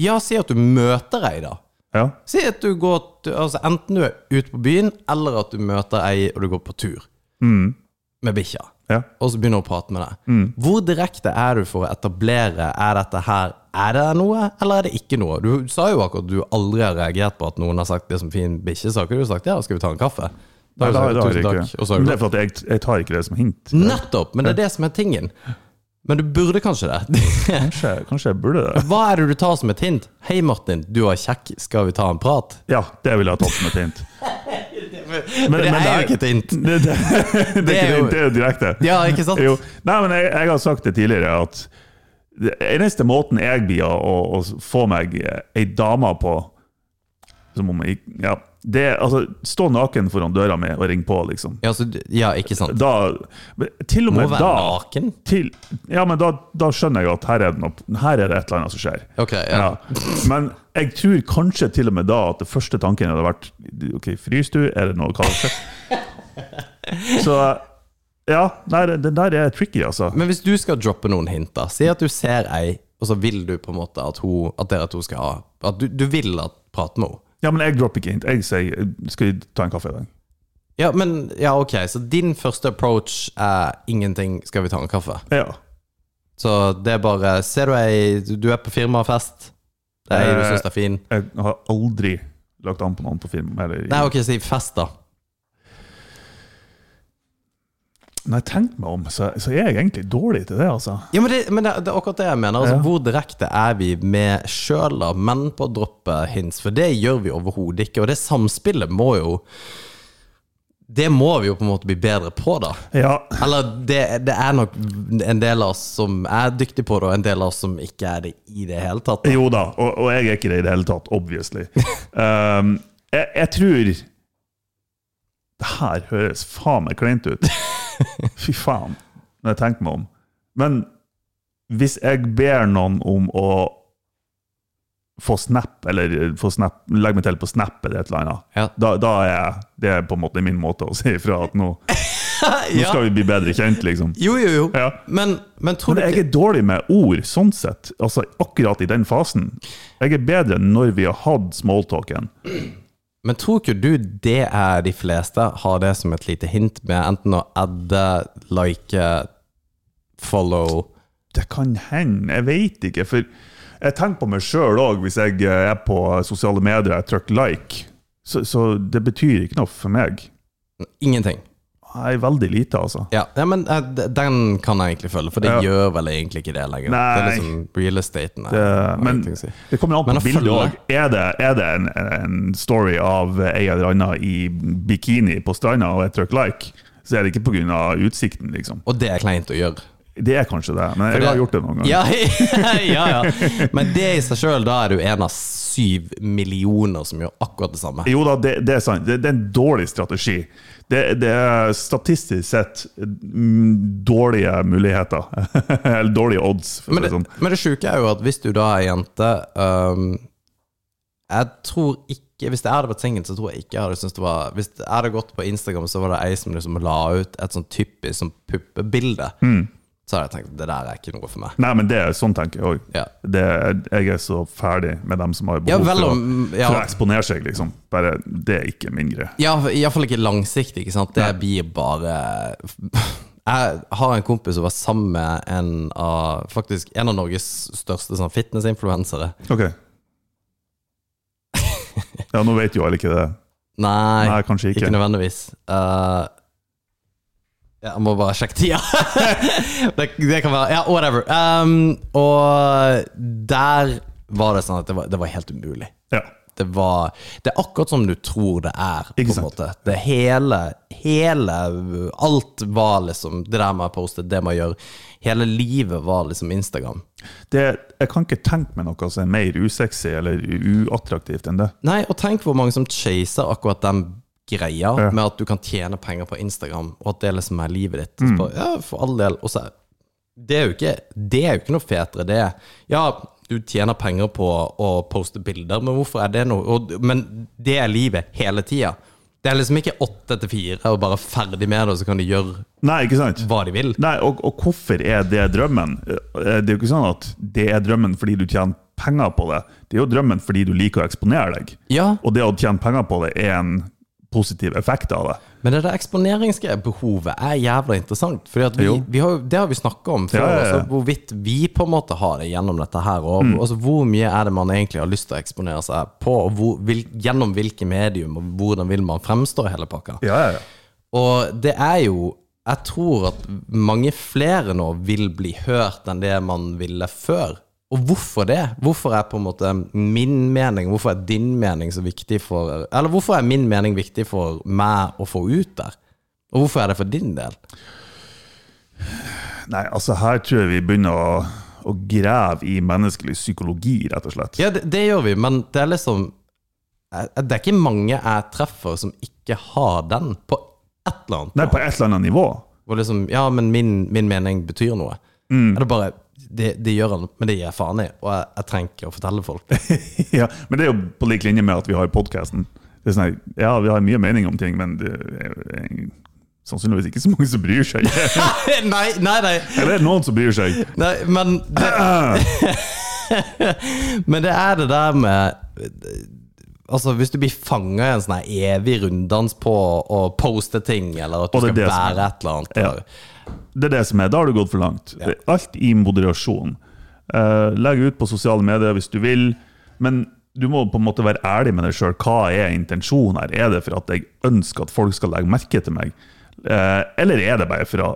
[SPEAKER 6] Ja, si at du møter ei, da.
[SPEAKER 7] Ja.
[SPEAKER 6] Si at du går t- altså, Enten du er ute på byen, eller at du møter ei og du går på tur med bikkja.
[SPEAKER 7] Mm. ja. Mm.
[SPEAKER 6] Og så begynner hun å prate med deg. Hvor direkte er du for å etablere Er dette her Er det noe, eller er det ikke noe? Du sa jo akkurat at du aldri har reagert på at noen har sagt det som fin bikkjesak. og Du har sagt ja, skal vi ta en kaffe? Da har
[SPEAKER 7] Nei,
[SPEAKER 6] du
[SPEAKER 7] da har
[SPEAKER 6] sagt
[SPEAKER 7] jeg
[SPEAKER 6] tusen
[SPEAKER 7] ikke.
[SPEAKER 6] takk. Og så har
[SPEAKER 7] Men
[SPEAKER 6] du
[SPEAKER 7] det er for at jeg, jeg tar ikke det som hint.
[SPEAKER 6] Nettopp! Men det er det som er tingen. Men du burde kanskje det.
[SPEAKER 7] Kanskje, kanskje jeg burde det.
[SPEAKER 6] Hva er det du tar som et hint? Hei, Martin, du var kjekk, skal vi ta en prat?
[SPEAKER 7] Ja, det ville jeg tatt som et hint. Men,
[SPEAKER 6] det er jo ikke et hint.
[SPEAKER 7] Det, det, det,
[SPEAKER 6] Det
[SPEAKER 7] er
[SPEAKER 6] er
[SPEAKER 7] ikke
[SPEAKER 6] jo-
[SPEAKER 7] det, det er jo direkte.
[SPEAKER 6] Ja, ikke sant?
[SPEAKER 7] Jo. Nei, men jeg, jeg har sagt det tidligere at det eneste måten jeg blir å, å, å få meg eh, ei dame på som om jeg, ja, det, er, altså, Stå naken foran døra mi og ring på, liksom.
[SPEAKER 6] Ja, så, du- ja ikke sant?
[SPEAKER 7] Da, men til og
[SPEAKER 6] Må
[SPEAKER 7] med
[SPEAKER 6] være
[SPEAKER 7] da
[SPEAKER 6] naken?
[SPEAKER 7] Til, ja, men da, da skjønner jeg at her er, det noe, her er det et eller annet som skjer.
[SPEAKER 6] Ok, ja.
[SPEAKER 7] Men jeg tror kanskje til og med da at det første tanken hadde vært Ok, fryser du? Er det noe kaldt? Så ja, nei, det- det der er tricky, altså.
[SPEAKER 6] Men hvis du skal droppe noen hint, da. Si at du ser ei, og så vil du på en måte at, hun, at dere to skal ha At du, du vil at prate med henne.
[SPEAKER 7] Ja, men jeg dropper ikke hint. Jeg sier skal vi ta en kaffe i dag?
[SPEAKER 6] Ja, men Ja, ok, så din første approach er ingenting, skal vi ta en kaffe?
[SPEAKER 7] Ja.
[SPEAKER 6] Så det er bare Ser du ei Du er på firmafest. Det er ei du syns er fin.
[SPEAKER 7] Jeg har aldri lagt an på noen på film. Eller,
[SPEAKER 6] Nei, ok, si fest, da.
[SPEAKER 7] Når jeg tenker meg om, så, så er jeg egentlig dårlig til det, altså.
[SPEAKER 6] Ja, men det, men det, det er akkurat det jeg mener. Altså,
[SPEAKER 7] Ja.
[SPEAKER 6] Hvor direkte er vi med sjøl, da, men på å droppe hints? For det gjør vi overhodet ikke, og det samspillet må jo Det må vi jo på en måte bli bedre på, da.
[SPEAKER 7] Ja,
[SPEAKER 6] Eller det, det er nok en del av oss som er dyktig på det, og en del av oss som ikke er det i det hele tatt. Da.
[SPEAKER 7] Jo da, og, og jeg er ikke det i det hele tatt, obviously. Um, jeg, jeg tror Det her høres faen meg kleint ut. Fy faen, når jeg tenker meg om. Men hvis jeg ber noen om å få snap, eller få snap, legge meg til på snap eller et eller annet,
[SPEAKER 6] Ja.
[SPEAKER 7] da, da er jeg, det er på en måte min måte å si ifra at nå, nå
[SPEAKER 6] Ja.
[SPEAKER 7] skal vi bli bedre kjent, liksom.
[SPEAKER 6] Jo, jo, jo.
[SPEAKER 7] Ja.
[SPEAKER 6] Men, men tror
[SPEAKER 7] Men
[SPEAKER 6] du
[SPEAKER 7] jeg
[SPEAKER 6] ikke
[SPEAKER 7] er dårlig med ord, sånn sett. Altså akkurat i den fasen. Jeg er bedre når vi har hatt smalltalken.
[SPEAKER 6] Men tror ikke du det er de fleste har det som et lite hint med enten å adde, like, follow
[SPEAKER 7] Det kan hende, jeg veit ikke. For jeg tenker på meg sjøl òg, hvis jeg eh, er på sosiale medier og jeg trykker like. Så, så det betyr ikke noe for meg.
[SPEAKER 6] Ingenting.
[SPEAKER 7] Jeg er veldig lite, altså.
[SPEAKER 6] Ja, ja men eh, d- den kan jeg egentlig følge, for det
[SPEAKER 7] Ja.
[SPEAKER 6] gjør vel egentlig ikke det lenger. Det er
[SPEAKER 7] Nei.
[SPEAKER 6] liksom real estaten.
[SPEAKER 7] Det,
[SPEAKER 6] er- har
[SPEAKER 7] Eh, men
[SPEAKER 6] ingenting å si.
[SPEAKER 7] det kommer an
[SPEAKER 6] Men
[SPEAKER 7] på
[SPEAKER 6] å
[SPEAKER 7] bildet
[SPEAKER 6] følge-
[SPEAKER 7] òg. Er det, er det en, en story av ei eller anna i bikini på stranda, og jeg trykker like, så er det ikke pga. utsikten, liksom.
[SPEAKER 6] Og det er kleint å gjøre.
[SPEAKER 7] Det er kanskje det, men jeg
[SPEAKER 6] det-
[SPEAKER 7] har gjort det noen ganger.
[SPEAKER 6] Ja, ja, ja. Men det i seg sjøl, da er du en av syv millioner som gjør akkurat det samme.
[SPEAKER 7] Jo da, det, det er sant. Det, det er en dårlig strategi. Det, det er statistisk sett mm, dårlige muligheter. Eller dårlige odds, for
[SPEAKER 6] Men det,
[SPEAKER 7] å si det sånn.
[SPEAKER 6] men det sjuke er jo at hvis du da er jente øhm, Jeg tror ikke Hvis jeg hadde vært singel, så tror jeg ikke jeg hadde syntes det var Hvis jeg hadde gått på Instagram, så var det ei som liksom la ut et sånn typisk sånn puppebilde.
[SPEAKER 7] Mm.
[SPEAKER 6] Så hadde jeg tenkt det der er ikke noe for meg.
[SPEAKER 7] Nei, men det er sånn tenker jeg òg.
[SPEAKER 6] Ja.
[SPEAKER 7] Jeg er så ferdig med dem som har
[SPEAKER 6] Ja,
[SPEAKER 7] behov
[SPEAKER 6] vel
[SPEAKER 7] for, å,
[SPEAKER 6] om- ja.
[SPEAKER 7] for å eksponere seg, liksom. Bare, det er ikke min greie.
[SPEAKER 6] Ja, Iallfall ikke langsiktig. ikke sant? Det blir bare Jeg har en kompis som var sammen med en av faktisk en av Norges største sånn fitnessinfluensere.
[SPEAKER 7] Ok. Ja, nå vet jo alle ikke det.
[SPEAKER 6] Nei,
[SPEAKER 7] Nei, kanskje ikke.
[SPEAKER 6] nødvendigvis. Eh, jeg må bare sjekke tida. det, det kan være Ja, whatever. Um, og der var det sånn at det var, det var helt umulig.
[SPEAKER 7] Ja.
[SPEAKER 6] Det var Det er akkurat som du tror det er. på
[SPEAKER 7] Ikke
[SPEAKER 6] en
[SPEAKER 7] sant.
[SPEAKER 6] måte. Det hele, hele Alt var liksom det der man poster, det man gjør. Hele livet var liksom Instagram.
[SPEAKER 7] Det, jeg kan ikke tenke meg noe som er mer usexy eller u- uattraktivt enn det.
[SPEAKER 6] Nei, og tenk hvor mange som chaser akkurat den greia
[SPEAKER 7] Ja.
[SPEAKER 6] med at du kan tjene penger på Instagram, og at det liksom er livet ditt.
[SPEAKER 7] Mm.
[SPEAKER 6] Så bare, ja, for all del. Og så er- det er jo ikke, det er jo ikke noe fetere, det. Ja, du tjener penger på å poste bilder, men hvorfor er det noe og, Men det er livet hele tida. Det er liksom ikke åtte til fire og bare ferdig med det, og så kan de gjøre
[SPEAKER 7] Nei, ikke sant?
[SPEAKER 6] hva de vil.
[SPEAKER 7] Nei, og, og hvorfor er det drømmen? Eh, Det er jo ikke sånn at det er drømmen fordi du tjener penger på det. Det er jo drømmen fordi du liker å eksponere deg.
[SPEAKER 6] Ja,
[SPEAKER 7] Og det å tjene penger på det er en positiv effekt av det.
[SPEAKER 6] Men det der eksponeringsbehovet er jævla interessant. Fordi at vi,
[SPEAKER 7] Jo.
[SPEAKER 6] vi har, jo- det har vi snakka om før.
[SPEAKER 7] Ja, Mm. ja, ja.
[SPEAKER 6] Altså, hvorvidt vi på en måte har det gjennom dette her. Og, altså, hvor mye er det man egentlig har lyst til å eksponere seg på? Og hvor, vil, gjennom hvilke medium? Og hvordan vil man fremstå i hele pakka?
[SPEAKER 7] Ja, ja, ja.
[SPEAKER 6] Og det er jo Jeg tror at mange flere nå vil bli hørt enn det man ville før. Og hvorfor det? Hvorfor er på en måte min mening, hvorfor er din mening så viktig for Eller hvorfor er min mening viktig for meg å få ut der? Og hvorfor er det for din del?
[SPEAKER 7] Nei, altså her tror jeg vi begynner å, å grave i menneskelig psykologi, rett og slett.
[SPEAKER 6] Ja, det, det gjør vi, men det er liksom eh, Det er ikke mange jeg treffer som ikke har den, på et eller annet
[SPEAKER 7] Nei, på et eller annet nivå.
[SPEAKER 6] Hvor liksom, ja, men min, min mening betyr noe.
[SPEAKER 7] Mm.
[SPEAKER 6] Er det bare det, det gjør han, men det gir jeg faen i, og jeg, jeg trenger ikke å fortelle folk det.
[SPEAKER 7] ja, men det er jo på lik linje med at vi har podkasten. Sånn her, ja, vi har mye mening om ting, men det er er sannsynligvis ikke så mange som bryr seg.
[SPEAKER 6] nei, nei, nei,
[SPEAKER 7] Eller er det noen som bryr seg?
[SPEAKER 6] nei, men det, Men det er det der med Altså, Hvis du blir fanga i en sånn her evig runddans på å poste ting, eller at du
[SPEAKER 7] Og
[SPEAKER 6] skal
[SPEAKER 7] det er det som er-
[SPEAKER 6] være et eller annet eller-
[SPEAKER 7] Det er det som er. Da har du gått for langt. Alt i moderasjon. Eh, legg ut på sosiale medier hvis du vil, men du må på en måte være ærlig med deg sjøl. Hva er intensjonen her? Er det for at jeg ønsker at folk skal legge merke til meg? Eh, eller er det bare for å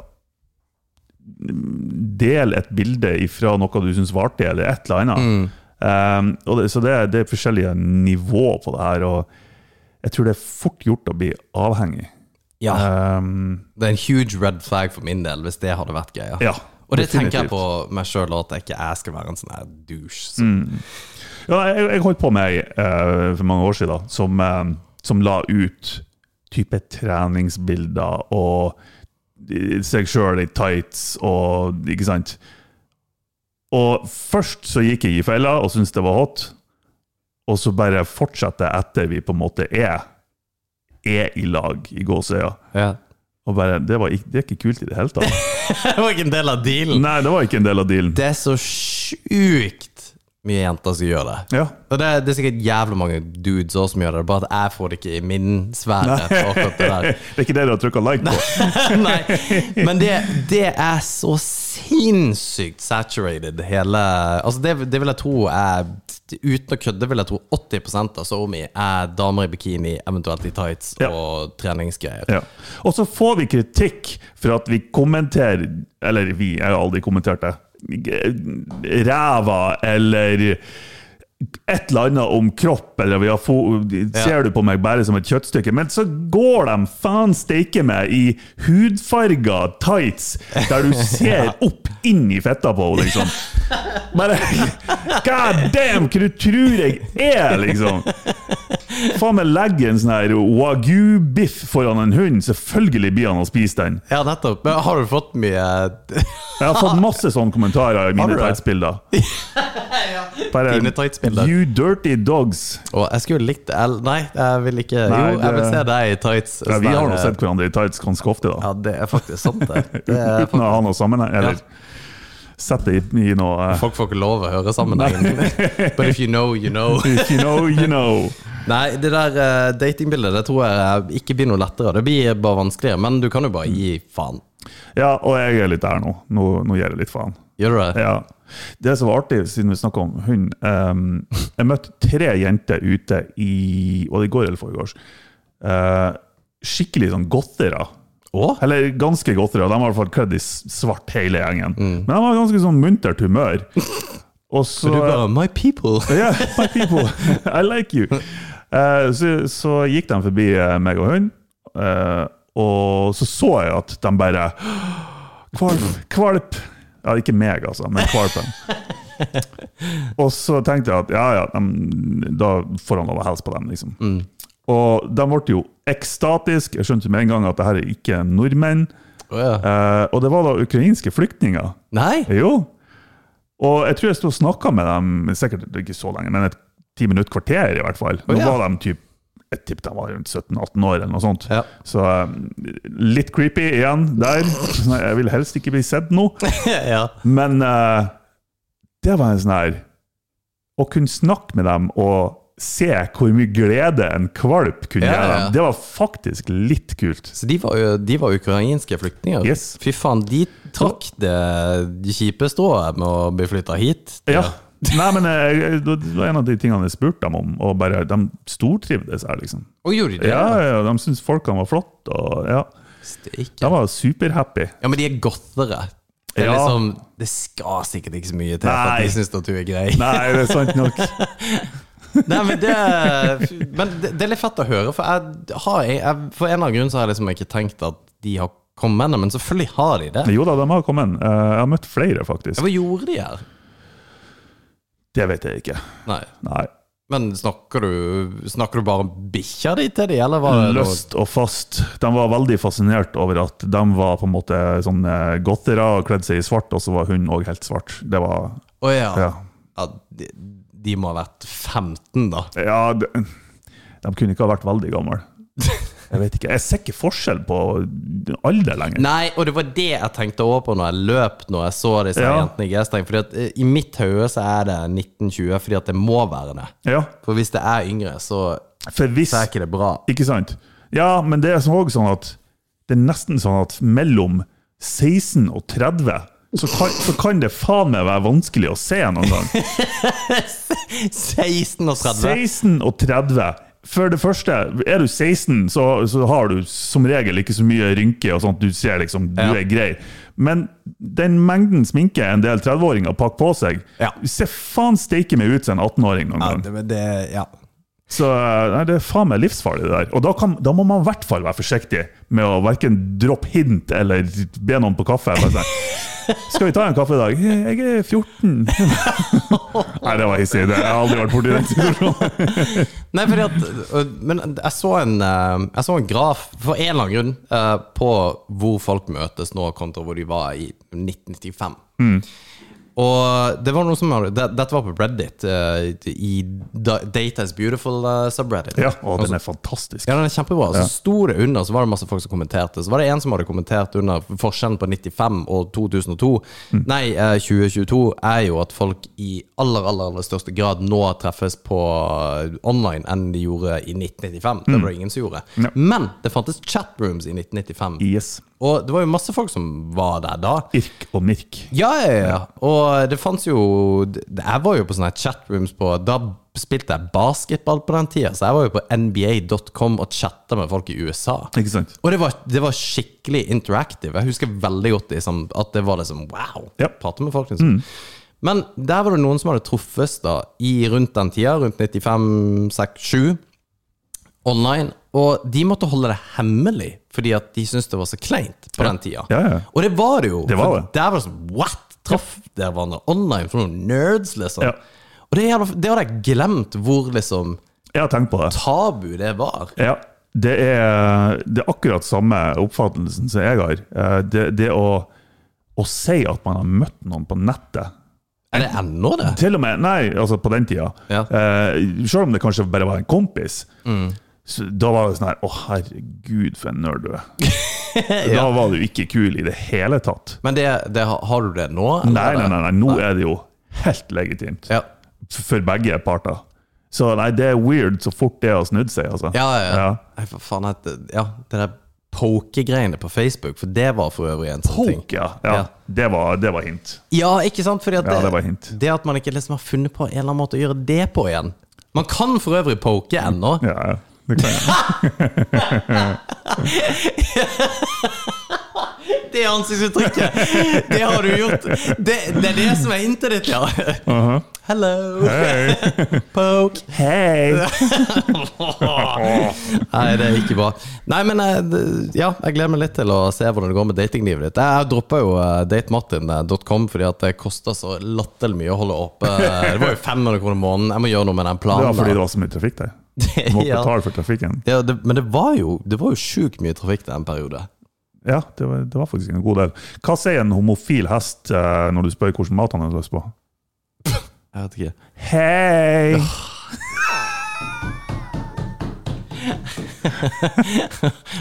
[SPEAKER 7] dele et bilde ifra noe du syns var artig, eller et eller annet? Eh, og det, så det, er- det er forskjellige nivå på det her, og jeg tror det er fort gjort å bli avhengig.
[SPEAKER 6] Ja,
[SPEAKER 7] Eh,
[SPEAKER 6] Det er en huge red flag for min del, hvis det hadde vært greia.
[SPEAKER 7] Ja,
[SPEAKER 6] og det tenker jeg
[SPEAKER 7] definitivt.
[SPEAKER 6] på meg sjøl, at jeg ikke jeg skal være en sånn her douche. Som,
[SPEAKER 7] Mm. Ja, jeg, jeg holdt på med ei eh, for mange år siden som, eh, som la ut type treningsbilder og eh, seg sjøl i tights og Ikke sant? Og først så gikk jeg i fella og syntes det var hot, og så bare fortsatte jeg etter vi på en måte er er i lag i gåseøya.
[SPEAKER 6] ja.
[SPEAKER 7] Og bare det, var ikke, det er ikke kult i det hele tatt.
[SPEAKER 6] Det var ikke en del av dealen.
[SPEAKER 7] Nei, det var ikke en del av dealen.
[SPEAKER 6] Det er så sjukt mye jenter som gjør det.
[SPEAKER 7] Ja.
[SPEAKER 6] Og det, er- det er sikkert jævlig mange dudes også som gjør det, bare at jeg får det ikke i min sfære. for akkurat det der.
[SPEAKER 7] Det er ikke det du har trykka like på.
[SPEAKER 6] Nei. Men det, det er så sinnssykt saturated, hele Altså, det, det vil jeg tro er Uten å kødde vil jeg tro 80 av SoMe er damer i bikini, eventuelt i tights
[SPEAKER 7] Ja.
[SPEAKER 6] og treningsgreier.
[SPEAKER 7] Ja. Og så får vi kritikk for at vi kommenterer Eller vi, jeg har aldri kommentert det. Ræva eller et eller annet om kropp, eller vi har fo ser du på meg bare som et kjøttstykke? Men så går de faen steike meg i hudfarga tights, der du ser opp inn i fetta på henne, liksom. Bare God damn, hva du tror jeg er, liksom? Faen meg legge en sånn her wagyu-biff foran en hund. Selvfølgelig blir han å spise den.
[SPEAKER 6] Ja, nettopp. Men har du fått mye
[SPEAKER 7] Jeg har fått masse sånne kommentarer
[SPEAKER 6] Har
[SPEAKER 7] i mine
[SPEAKER 6] du det?
[SPEAKER 7] tights-bilder. Bare,
[SPEAKER 6] Dine tights-bilder.
[SPEAKER 7] You dirty dogs.
[SPEAKER 6] Og jeg skulle likt det eller- Nei, jeg vil ikke
[SPEAKER 7] Nei,
[SPEAKER 6] Jo, jeg vil
[SPEAKER 7] det-
[SPEAKER 6] se deg i tights.
[SPEAKER 7] Ja, vi har nå
[SPEAKER 6] Sånn,
[SPEAKER 7] sett hverandre i tights ganske ofte, da.
[SPEAKER 6] Ja, det er faktisk sant, det. det er
[SPEAKER 7] Uten å ha noe sammenheng. Eller
[SPEAKER 6] Ja.
[SPEAKER 7] sett det i, i noe eh,
[SPEAKER 6] Folk får ikke lov å høre sammenhengen. But if you know, you know.
[SPEAKER 7] If you know, you know.
[SPEAKER 6] Nei, det der eh, datingbildet det tror jeg ikke blir noe lettere. Det blir bare vanskeligere, men du kan jo bare gi faen.
[SPEAKER 7] Ja, og jeg er litt der nå. Nå, nå gir jeg litt faen.
[SPEAKER 6] Gjør du det?
[SPEAKER 7] Ja. Det som var artig, siden vi snakka om hund ehm, Jeg møtte tre jenter ute i Og det går eller foregårs. eh, skikkelig sånn gottere.
[SPEAKER 6] Å?
[SPEAKER 7] Eller ganske gottere. De var i hvert fall kledd i s- svart, hele gjengen. Men de var ganske sånn muntert humør. Og så,
[SPEAKER 6] Så du bare My people!
[SPEAKER 7] Yeah, my people, I like you. Eh, så, så gikk de forbi eh, meg og hun, eh, og så så jeg at de bare Kvalp! Kvalp! Ja, ikke meg, altså, men kvalpen. og så tenkte jeg at ja, ja, de, da får han lov å hilse på dem, liksom. Og de ble jo ekstatiske. Jeg skjønte med en gang at det her er ikke nordmenn.
[SPEAKER 6] Å, ja.
[SPEAKER 7] Eh, og det var da ukrainske flyktninger.
[SPEAKER 6] Nei!
[SPEAKER 7] Jo. Og jeg tror jeg sto og snakka med dem sikkert ikke så lenge, men et ti minutt kvarter i hvert fall. Nå
[SPEAKER 6] Å, ja.
[SPEAKER 7] var de typ, Jeg tipper de var rundt 17-18 år, eller noe sånt.
[SPEAKER 6] Ja.
[SPEAKER 7] Så um, litt creepy igjen der. Sånn, Jeg vil helst ikke bli sett nå.
[SPEAKER 6] ja.
[SPEAKER 7] Men eh, det var en sånn her Å kunne snakke med dem og se hvor mye glede en kvalp kunne
[SPEAKER 6] Ja, ja,
[SPEAKER 7] gjøre.
[SPEAKER 6] ja.
[SPEAKER 7] Det var faktisk litt kult.
[SPEAKER 6] Så de var, jo- de var ukrainske flyktninger?
[SPEAKER 7] Yes.
[SPEAKER 6] Fy faen, de trakk det de kjipe strået med å bli flytta hit?
[SPEAKER 7] Ja. Nei, men eh, det var en av de tingene jeg spurte dem om, og bare, de stortrivdes her, liksom.
[SPEAKER 6] Og gjorde de det?
[SPEAKER 7] Ja, ja, de syntes folkene var flotte, og ja,
[SPEAKER 6] Steik.
[SPEAKER 7] de var superhappy.
[SPEAKER 6] Ja, men de er gottere. Det, er
[SPEAKER 7] Ja.
[SPEAKER 6] liksom, det skal sikkert ikke så mye til for
[SPEAKER 7] Nei.
[SPEAKER 6] at de syns at du er grei.
[SPEAKER 7] Nei, det er sant nok.
[SPEAKER 6] Nei, men det, men det, det er litt fett å høre, for, jeg har, jeg, jeg, for en av grunnene så har jeg liksom ikke tenkt at de har kommet ennå, men selvfølgelig har de det.
[SPEAKER 7] Jo da, de har kommet. Eh, Jeg har møtt flere, faktisk.
[SPEAKER 6] Hva gjorde de her?
[SPEAKER 7] Det vet jeg ikke.
[SPEAKER 6] Nei.
[SPEAKER 7] Nei.
[SPEAKER 6] Men snakker du, snakker du bare om bikkja di til de, eller var det noe-
[SPEAKER 7] Løst og fast. De var veldig fascinert over at de var på en måte sånn eh, gottere og kledde seg i svart, og så var hun òg helt svart. Det var
[SPEAKER 6] Å ja.
[SPEAKER 7] Ja.
[SPEAKER 6] ja. de, de må ha vært 15, da.
[SPEAKER 7] Ja, de, de kunne ikke ha vært veldig gamle. Jeg vet ikke. Jeg ser ikke forskjell på alder lenger.
[SPEAKER 6] Nei, og det var det jeg tenkte over på når jeg løp når jeg så disse
[SPEAKER 7] Ja.
[SPEAKER 6] jentene i G-streng. Fordi at eh, i mitt hode så er det 1920, fordi at det må være det.
[SPEAKER 7] Ja,
[SPEAKER 6] For hvis det er yngre, så,
[SPEAKER 7] for hvis
[SPEAKER 6] så er ikke det bra.
[SPEAKER 7] Ikke sant? Ja, men det er òg sånn at det er nesten sånn at mellom 16 og 30 så kan, så kan det faen meg være vanskelig å se noen gang.
[SPEAKER 6] 16 og 30.
[SPEAKER 7] 16 og 30. For det første, er du 16, så, så har du som regel ikke så mye rynker og sånt. Du ser liksom, du
[SPEAKER 6] Ja.
[SPEAKER 7] er grei. Men den mengden sminke en del 30-åringer pakker på seg,
[SPEAKER 6] Ja.
[SPEAKER 7] du ser faen steike meg ut som en 18-åring noen
[SPEAKER 6] Ja,
[SPEAKER 7] gang.
[SPEAKER 6] det, men det, ja.
[SPEAKER 7] Så nei, det er faen meg livsfarlig, det der. Og da, kan, da må man i hvert fall være forsiktig med å verken droppe hint eller be noen på kaffe. Bare sånn, Skal vi ta en kaffe i dag? Jeg er 14. Nei, det var hissig. Det- Jeg har aldri vært borti den situasjonen.
[SPEAKER 6] Nei, fordi at og- Men jeg så en, eh, jeg så en graf, for en eller annen grunn, eh, på hvor folk møtes nå kontra hvor de var i 1995. Og det var noe som hadde, det, Dette var på Reddit, eh, i Da- Data is beautiful eh, subreddit.
[SPEAKER 7] Ja, altså- og den er fantastisk.
[SPEAKER 6] Ja, den er kjempebra. Så sto det under, så var det masse folk som kommenterte. Så var det en som hadde kommentert under forskjellen på 95 og 2002.
[SPEAKER 7] Mm.
[SPEAKER 6] Nei, eh, 2022 er jo at folk i aller, aller, aller største grad nå treffes på eh, online enn de gjorde i 1995. Det var det ingen som gjorde.
[SPEAKER 7] Mm. Ja.
[SPEAKER 6] Men det fantes chatrooms i 1995.
[SPEAKER 7] Yes.
[SPEAKER 6] Og det var jo masse folk som var der da.
[SPEAKER 7] Irk og Mirk.
[SPEAKER 6] Ja, ja, ja. Og det fantes jo Jeg var jo på sånne chatrooms på Da spilte jeg basketball på den tida, så jeg var jo på nba.com og chatta med folk i USA.
[SPEAKER 7] Ikke sant?
[SPEAKER 6] Og det var, det var skikkelig interactive. Jeg husker veldig godt liksom, at det var liksom wow!
[SPEAKER 7] Ja. Mm.
[SPEAKER 6] Prate med folk, liksom. Men der var det noen som hadde truffes da, i rundt den tida, rundt 95, 6, 7, online. Og de måtte holde det hemmelig, fordi at de syntes det var så kleint på den tida.
[SPEAKER 7] Ja, ja.
[SPEAKER 6] Og det var det jo.
[SPEAKER 7] Det var
[SPEAKER 6] for
[SPEAKER 7] det.
[SPEAKER 6] Der var det sånn What? Traff dere hverandre online for noen nerds, liksom?
[SPEAKER 7] Ja.
[SPEAKER 6] Og det, hadde- det hadde jeg glemt hvor liksom
[SPEAKER 7] Jeg har tenkt på det.
[SPEAKER 6] tabu det var.
[SPEAKER 7] Ja, det er, det er akkurat samme oppfattelsen som jeg har. Eh, Det, det å, å si at man har møtt noen på nettet
[SPEAKER 6] Er det ennå det?
[SPEAKER 7] Til og med, nei, altså på den tida.
[SPEAKER 6] Ja.
[SPEAKER 7] Eh, selv om det kanskje bare var en kompis. Så da var det sånn her Å, herregud, for en nerd du er. Da var du ikke kul i det hele tatt.
[SPEAKER 6] Men det, det, har du det nå? eller?
[SPEAKER 7] Nei, nei, nei, nei. nå er det jo helt legitimt.
[SPEAKER 6] Ja.
[SPEAKER 7] For begge parter. Så nei, det er weird så fort det har snudd seg, altså.
[SPEAKER 6] Ja, ja, ja.
[SPEAKER 7] Ja.
[SPEAKER 6] Nei, for faen at, ja, det der poke-greiene på Facebook, for det var for øvrig en sånn ting.
[SPEAKER 7] Poke, ja. ja.
[SPEAKER 6] Ja.
[SPEAKER 7] Det, var, det var hint.
[SPEAKER 6] Ja, ikke sant? Fordi at
[SPEAKER 7] Ja, det var hint.
[SPEAKER 6] det at man ikke liksom har funnet på en eller annen måte å gjøre det på igjen. Man kan for øvrig poke ennå.
[SPEAKER 7] Ja, ja. Det kan jeg.
[SPEAKER 6] Det ansiktsuttrykket! Det har du gjort. Det, det er det som er hintet ditt, ja.
[SPEAKER 7] Uh-huh.
[SPEAKER 6] Hello! Poke!
[SPEAKER 7] Hei!
[SPEAKER 6] Nei, det er ikke bra. Nei, men eh, d- ja, jeg gleder meg litt til å se hvordan det går med datinglivet ditt. Jeg droppa jo eh, datemartin.com fordi at det kosta så latterlig mye å holde oppe. Det var jo 500 kroner i måneden. Jeg må gjøre noe med den
[SPEAKER 7] Det
[SPEAKER 6] planen.
[SPEAKER 7] var fordi
[SPEAKER 6] der.
[SPEAKER 7] det var så mye trafikk der. Du måtte
[SPEAKER 6] Ja.
[SPEAKER 7] betale for trafikken.
[SPEAKER 6] Ja, det, men det var jo Det var jo sjukt mye trafikk til en periode.
[SPEAKER 7] Ja, det var, det var faktisk en god del. Hva sier en homofil hest eh, når du spør hvilken mat han har lyst på?
[SPEAKER 6] Jeg vet ikke.
[SPEAKER 7] Hei!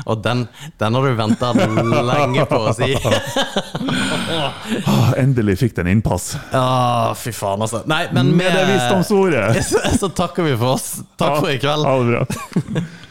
[SPEAKER 6] Og den, den har du venta lenge på å si.
[SPEAKER 7] Ah, endelig fikk den innpass.
[SPEAKER 6] Å, fy faen, altså. Nei, men
[SPEAKER 7] Med det visdomsordet!
[SPEAKER 6] så, så takker vi for oss. Takk for i kveld.
[SPEAKER 7] Ha det bra.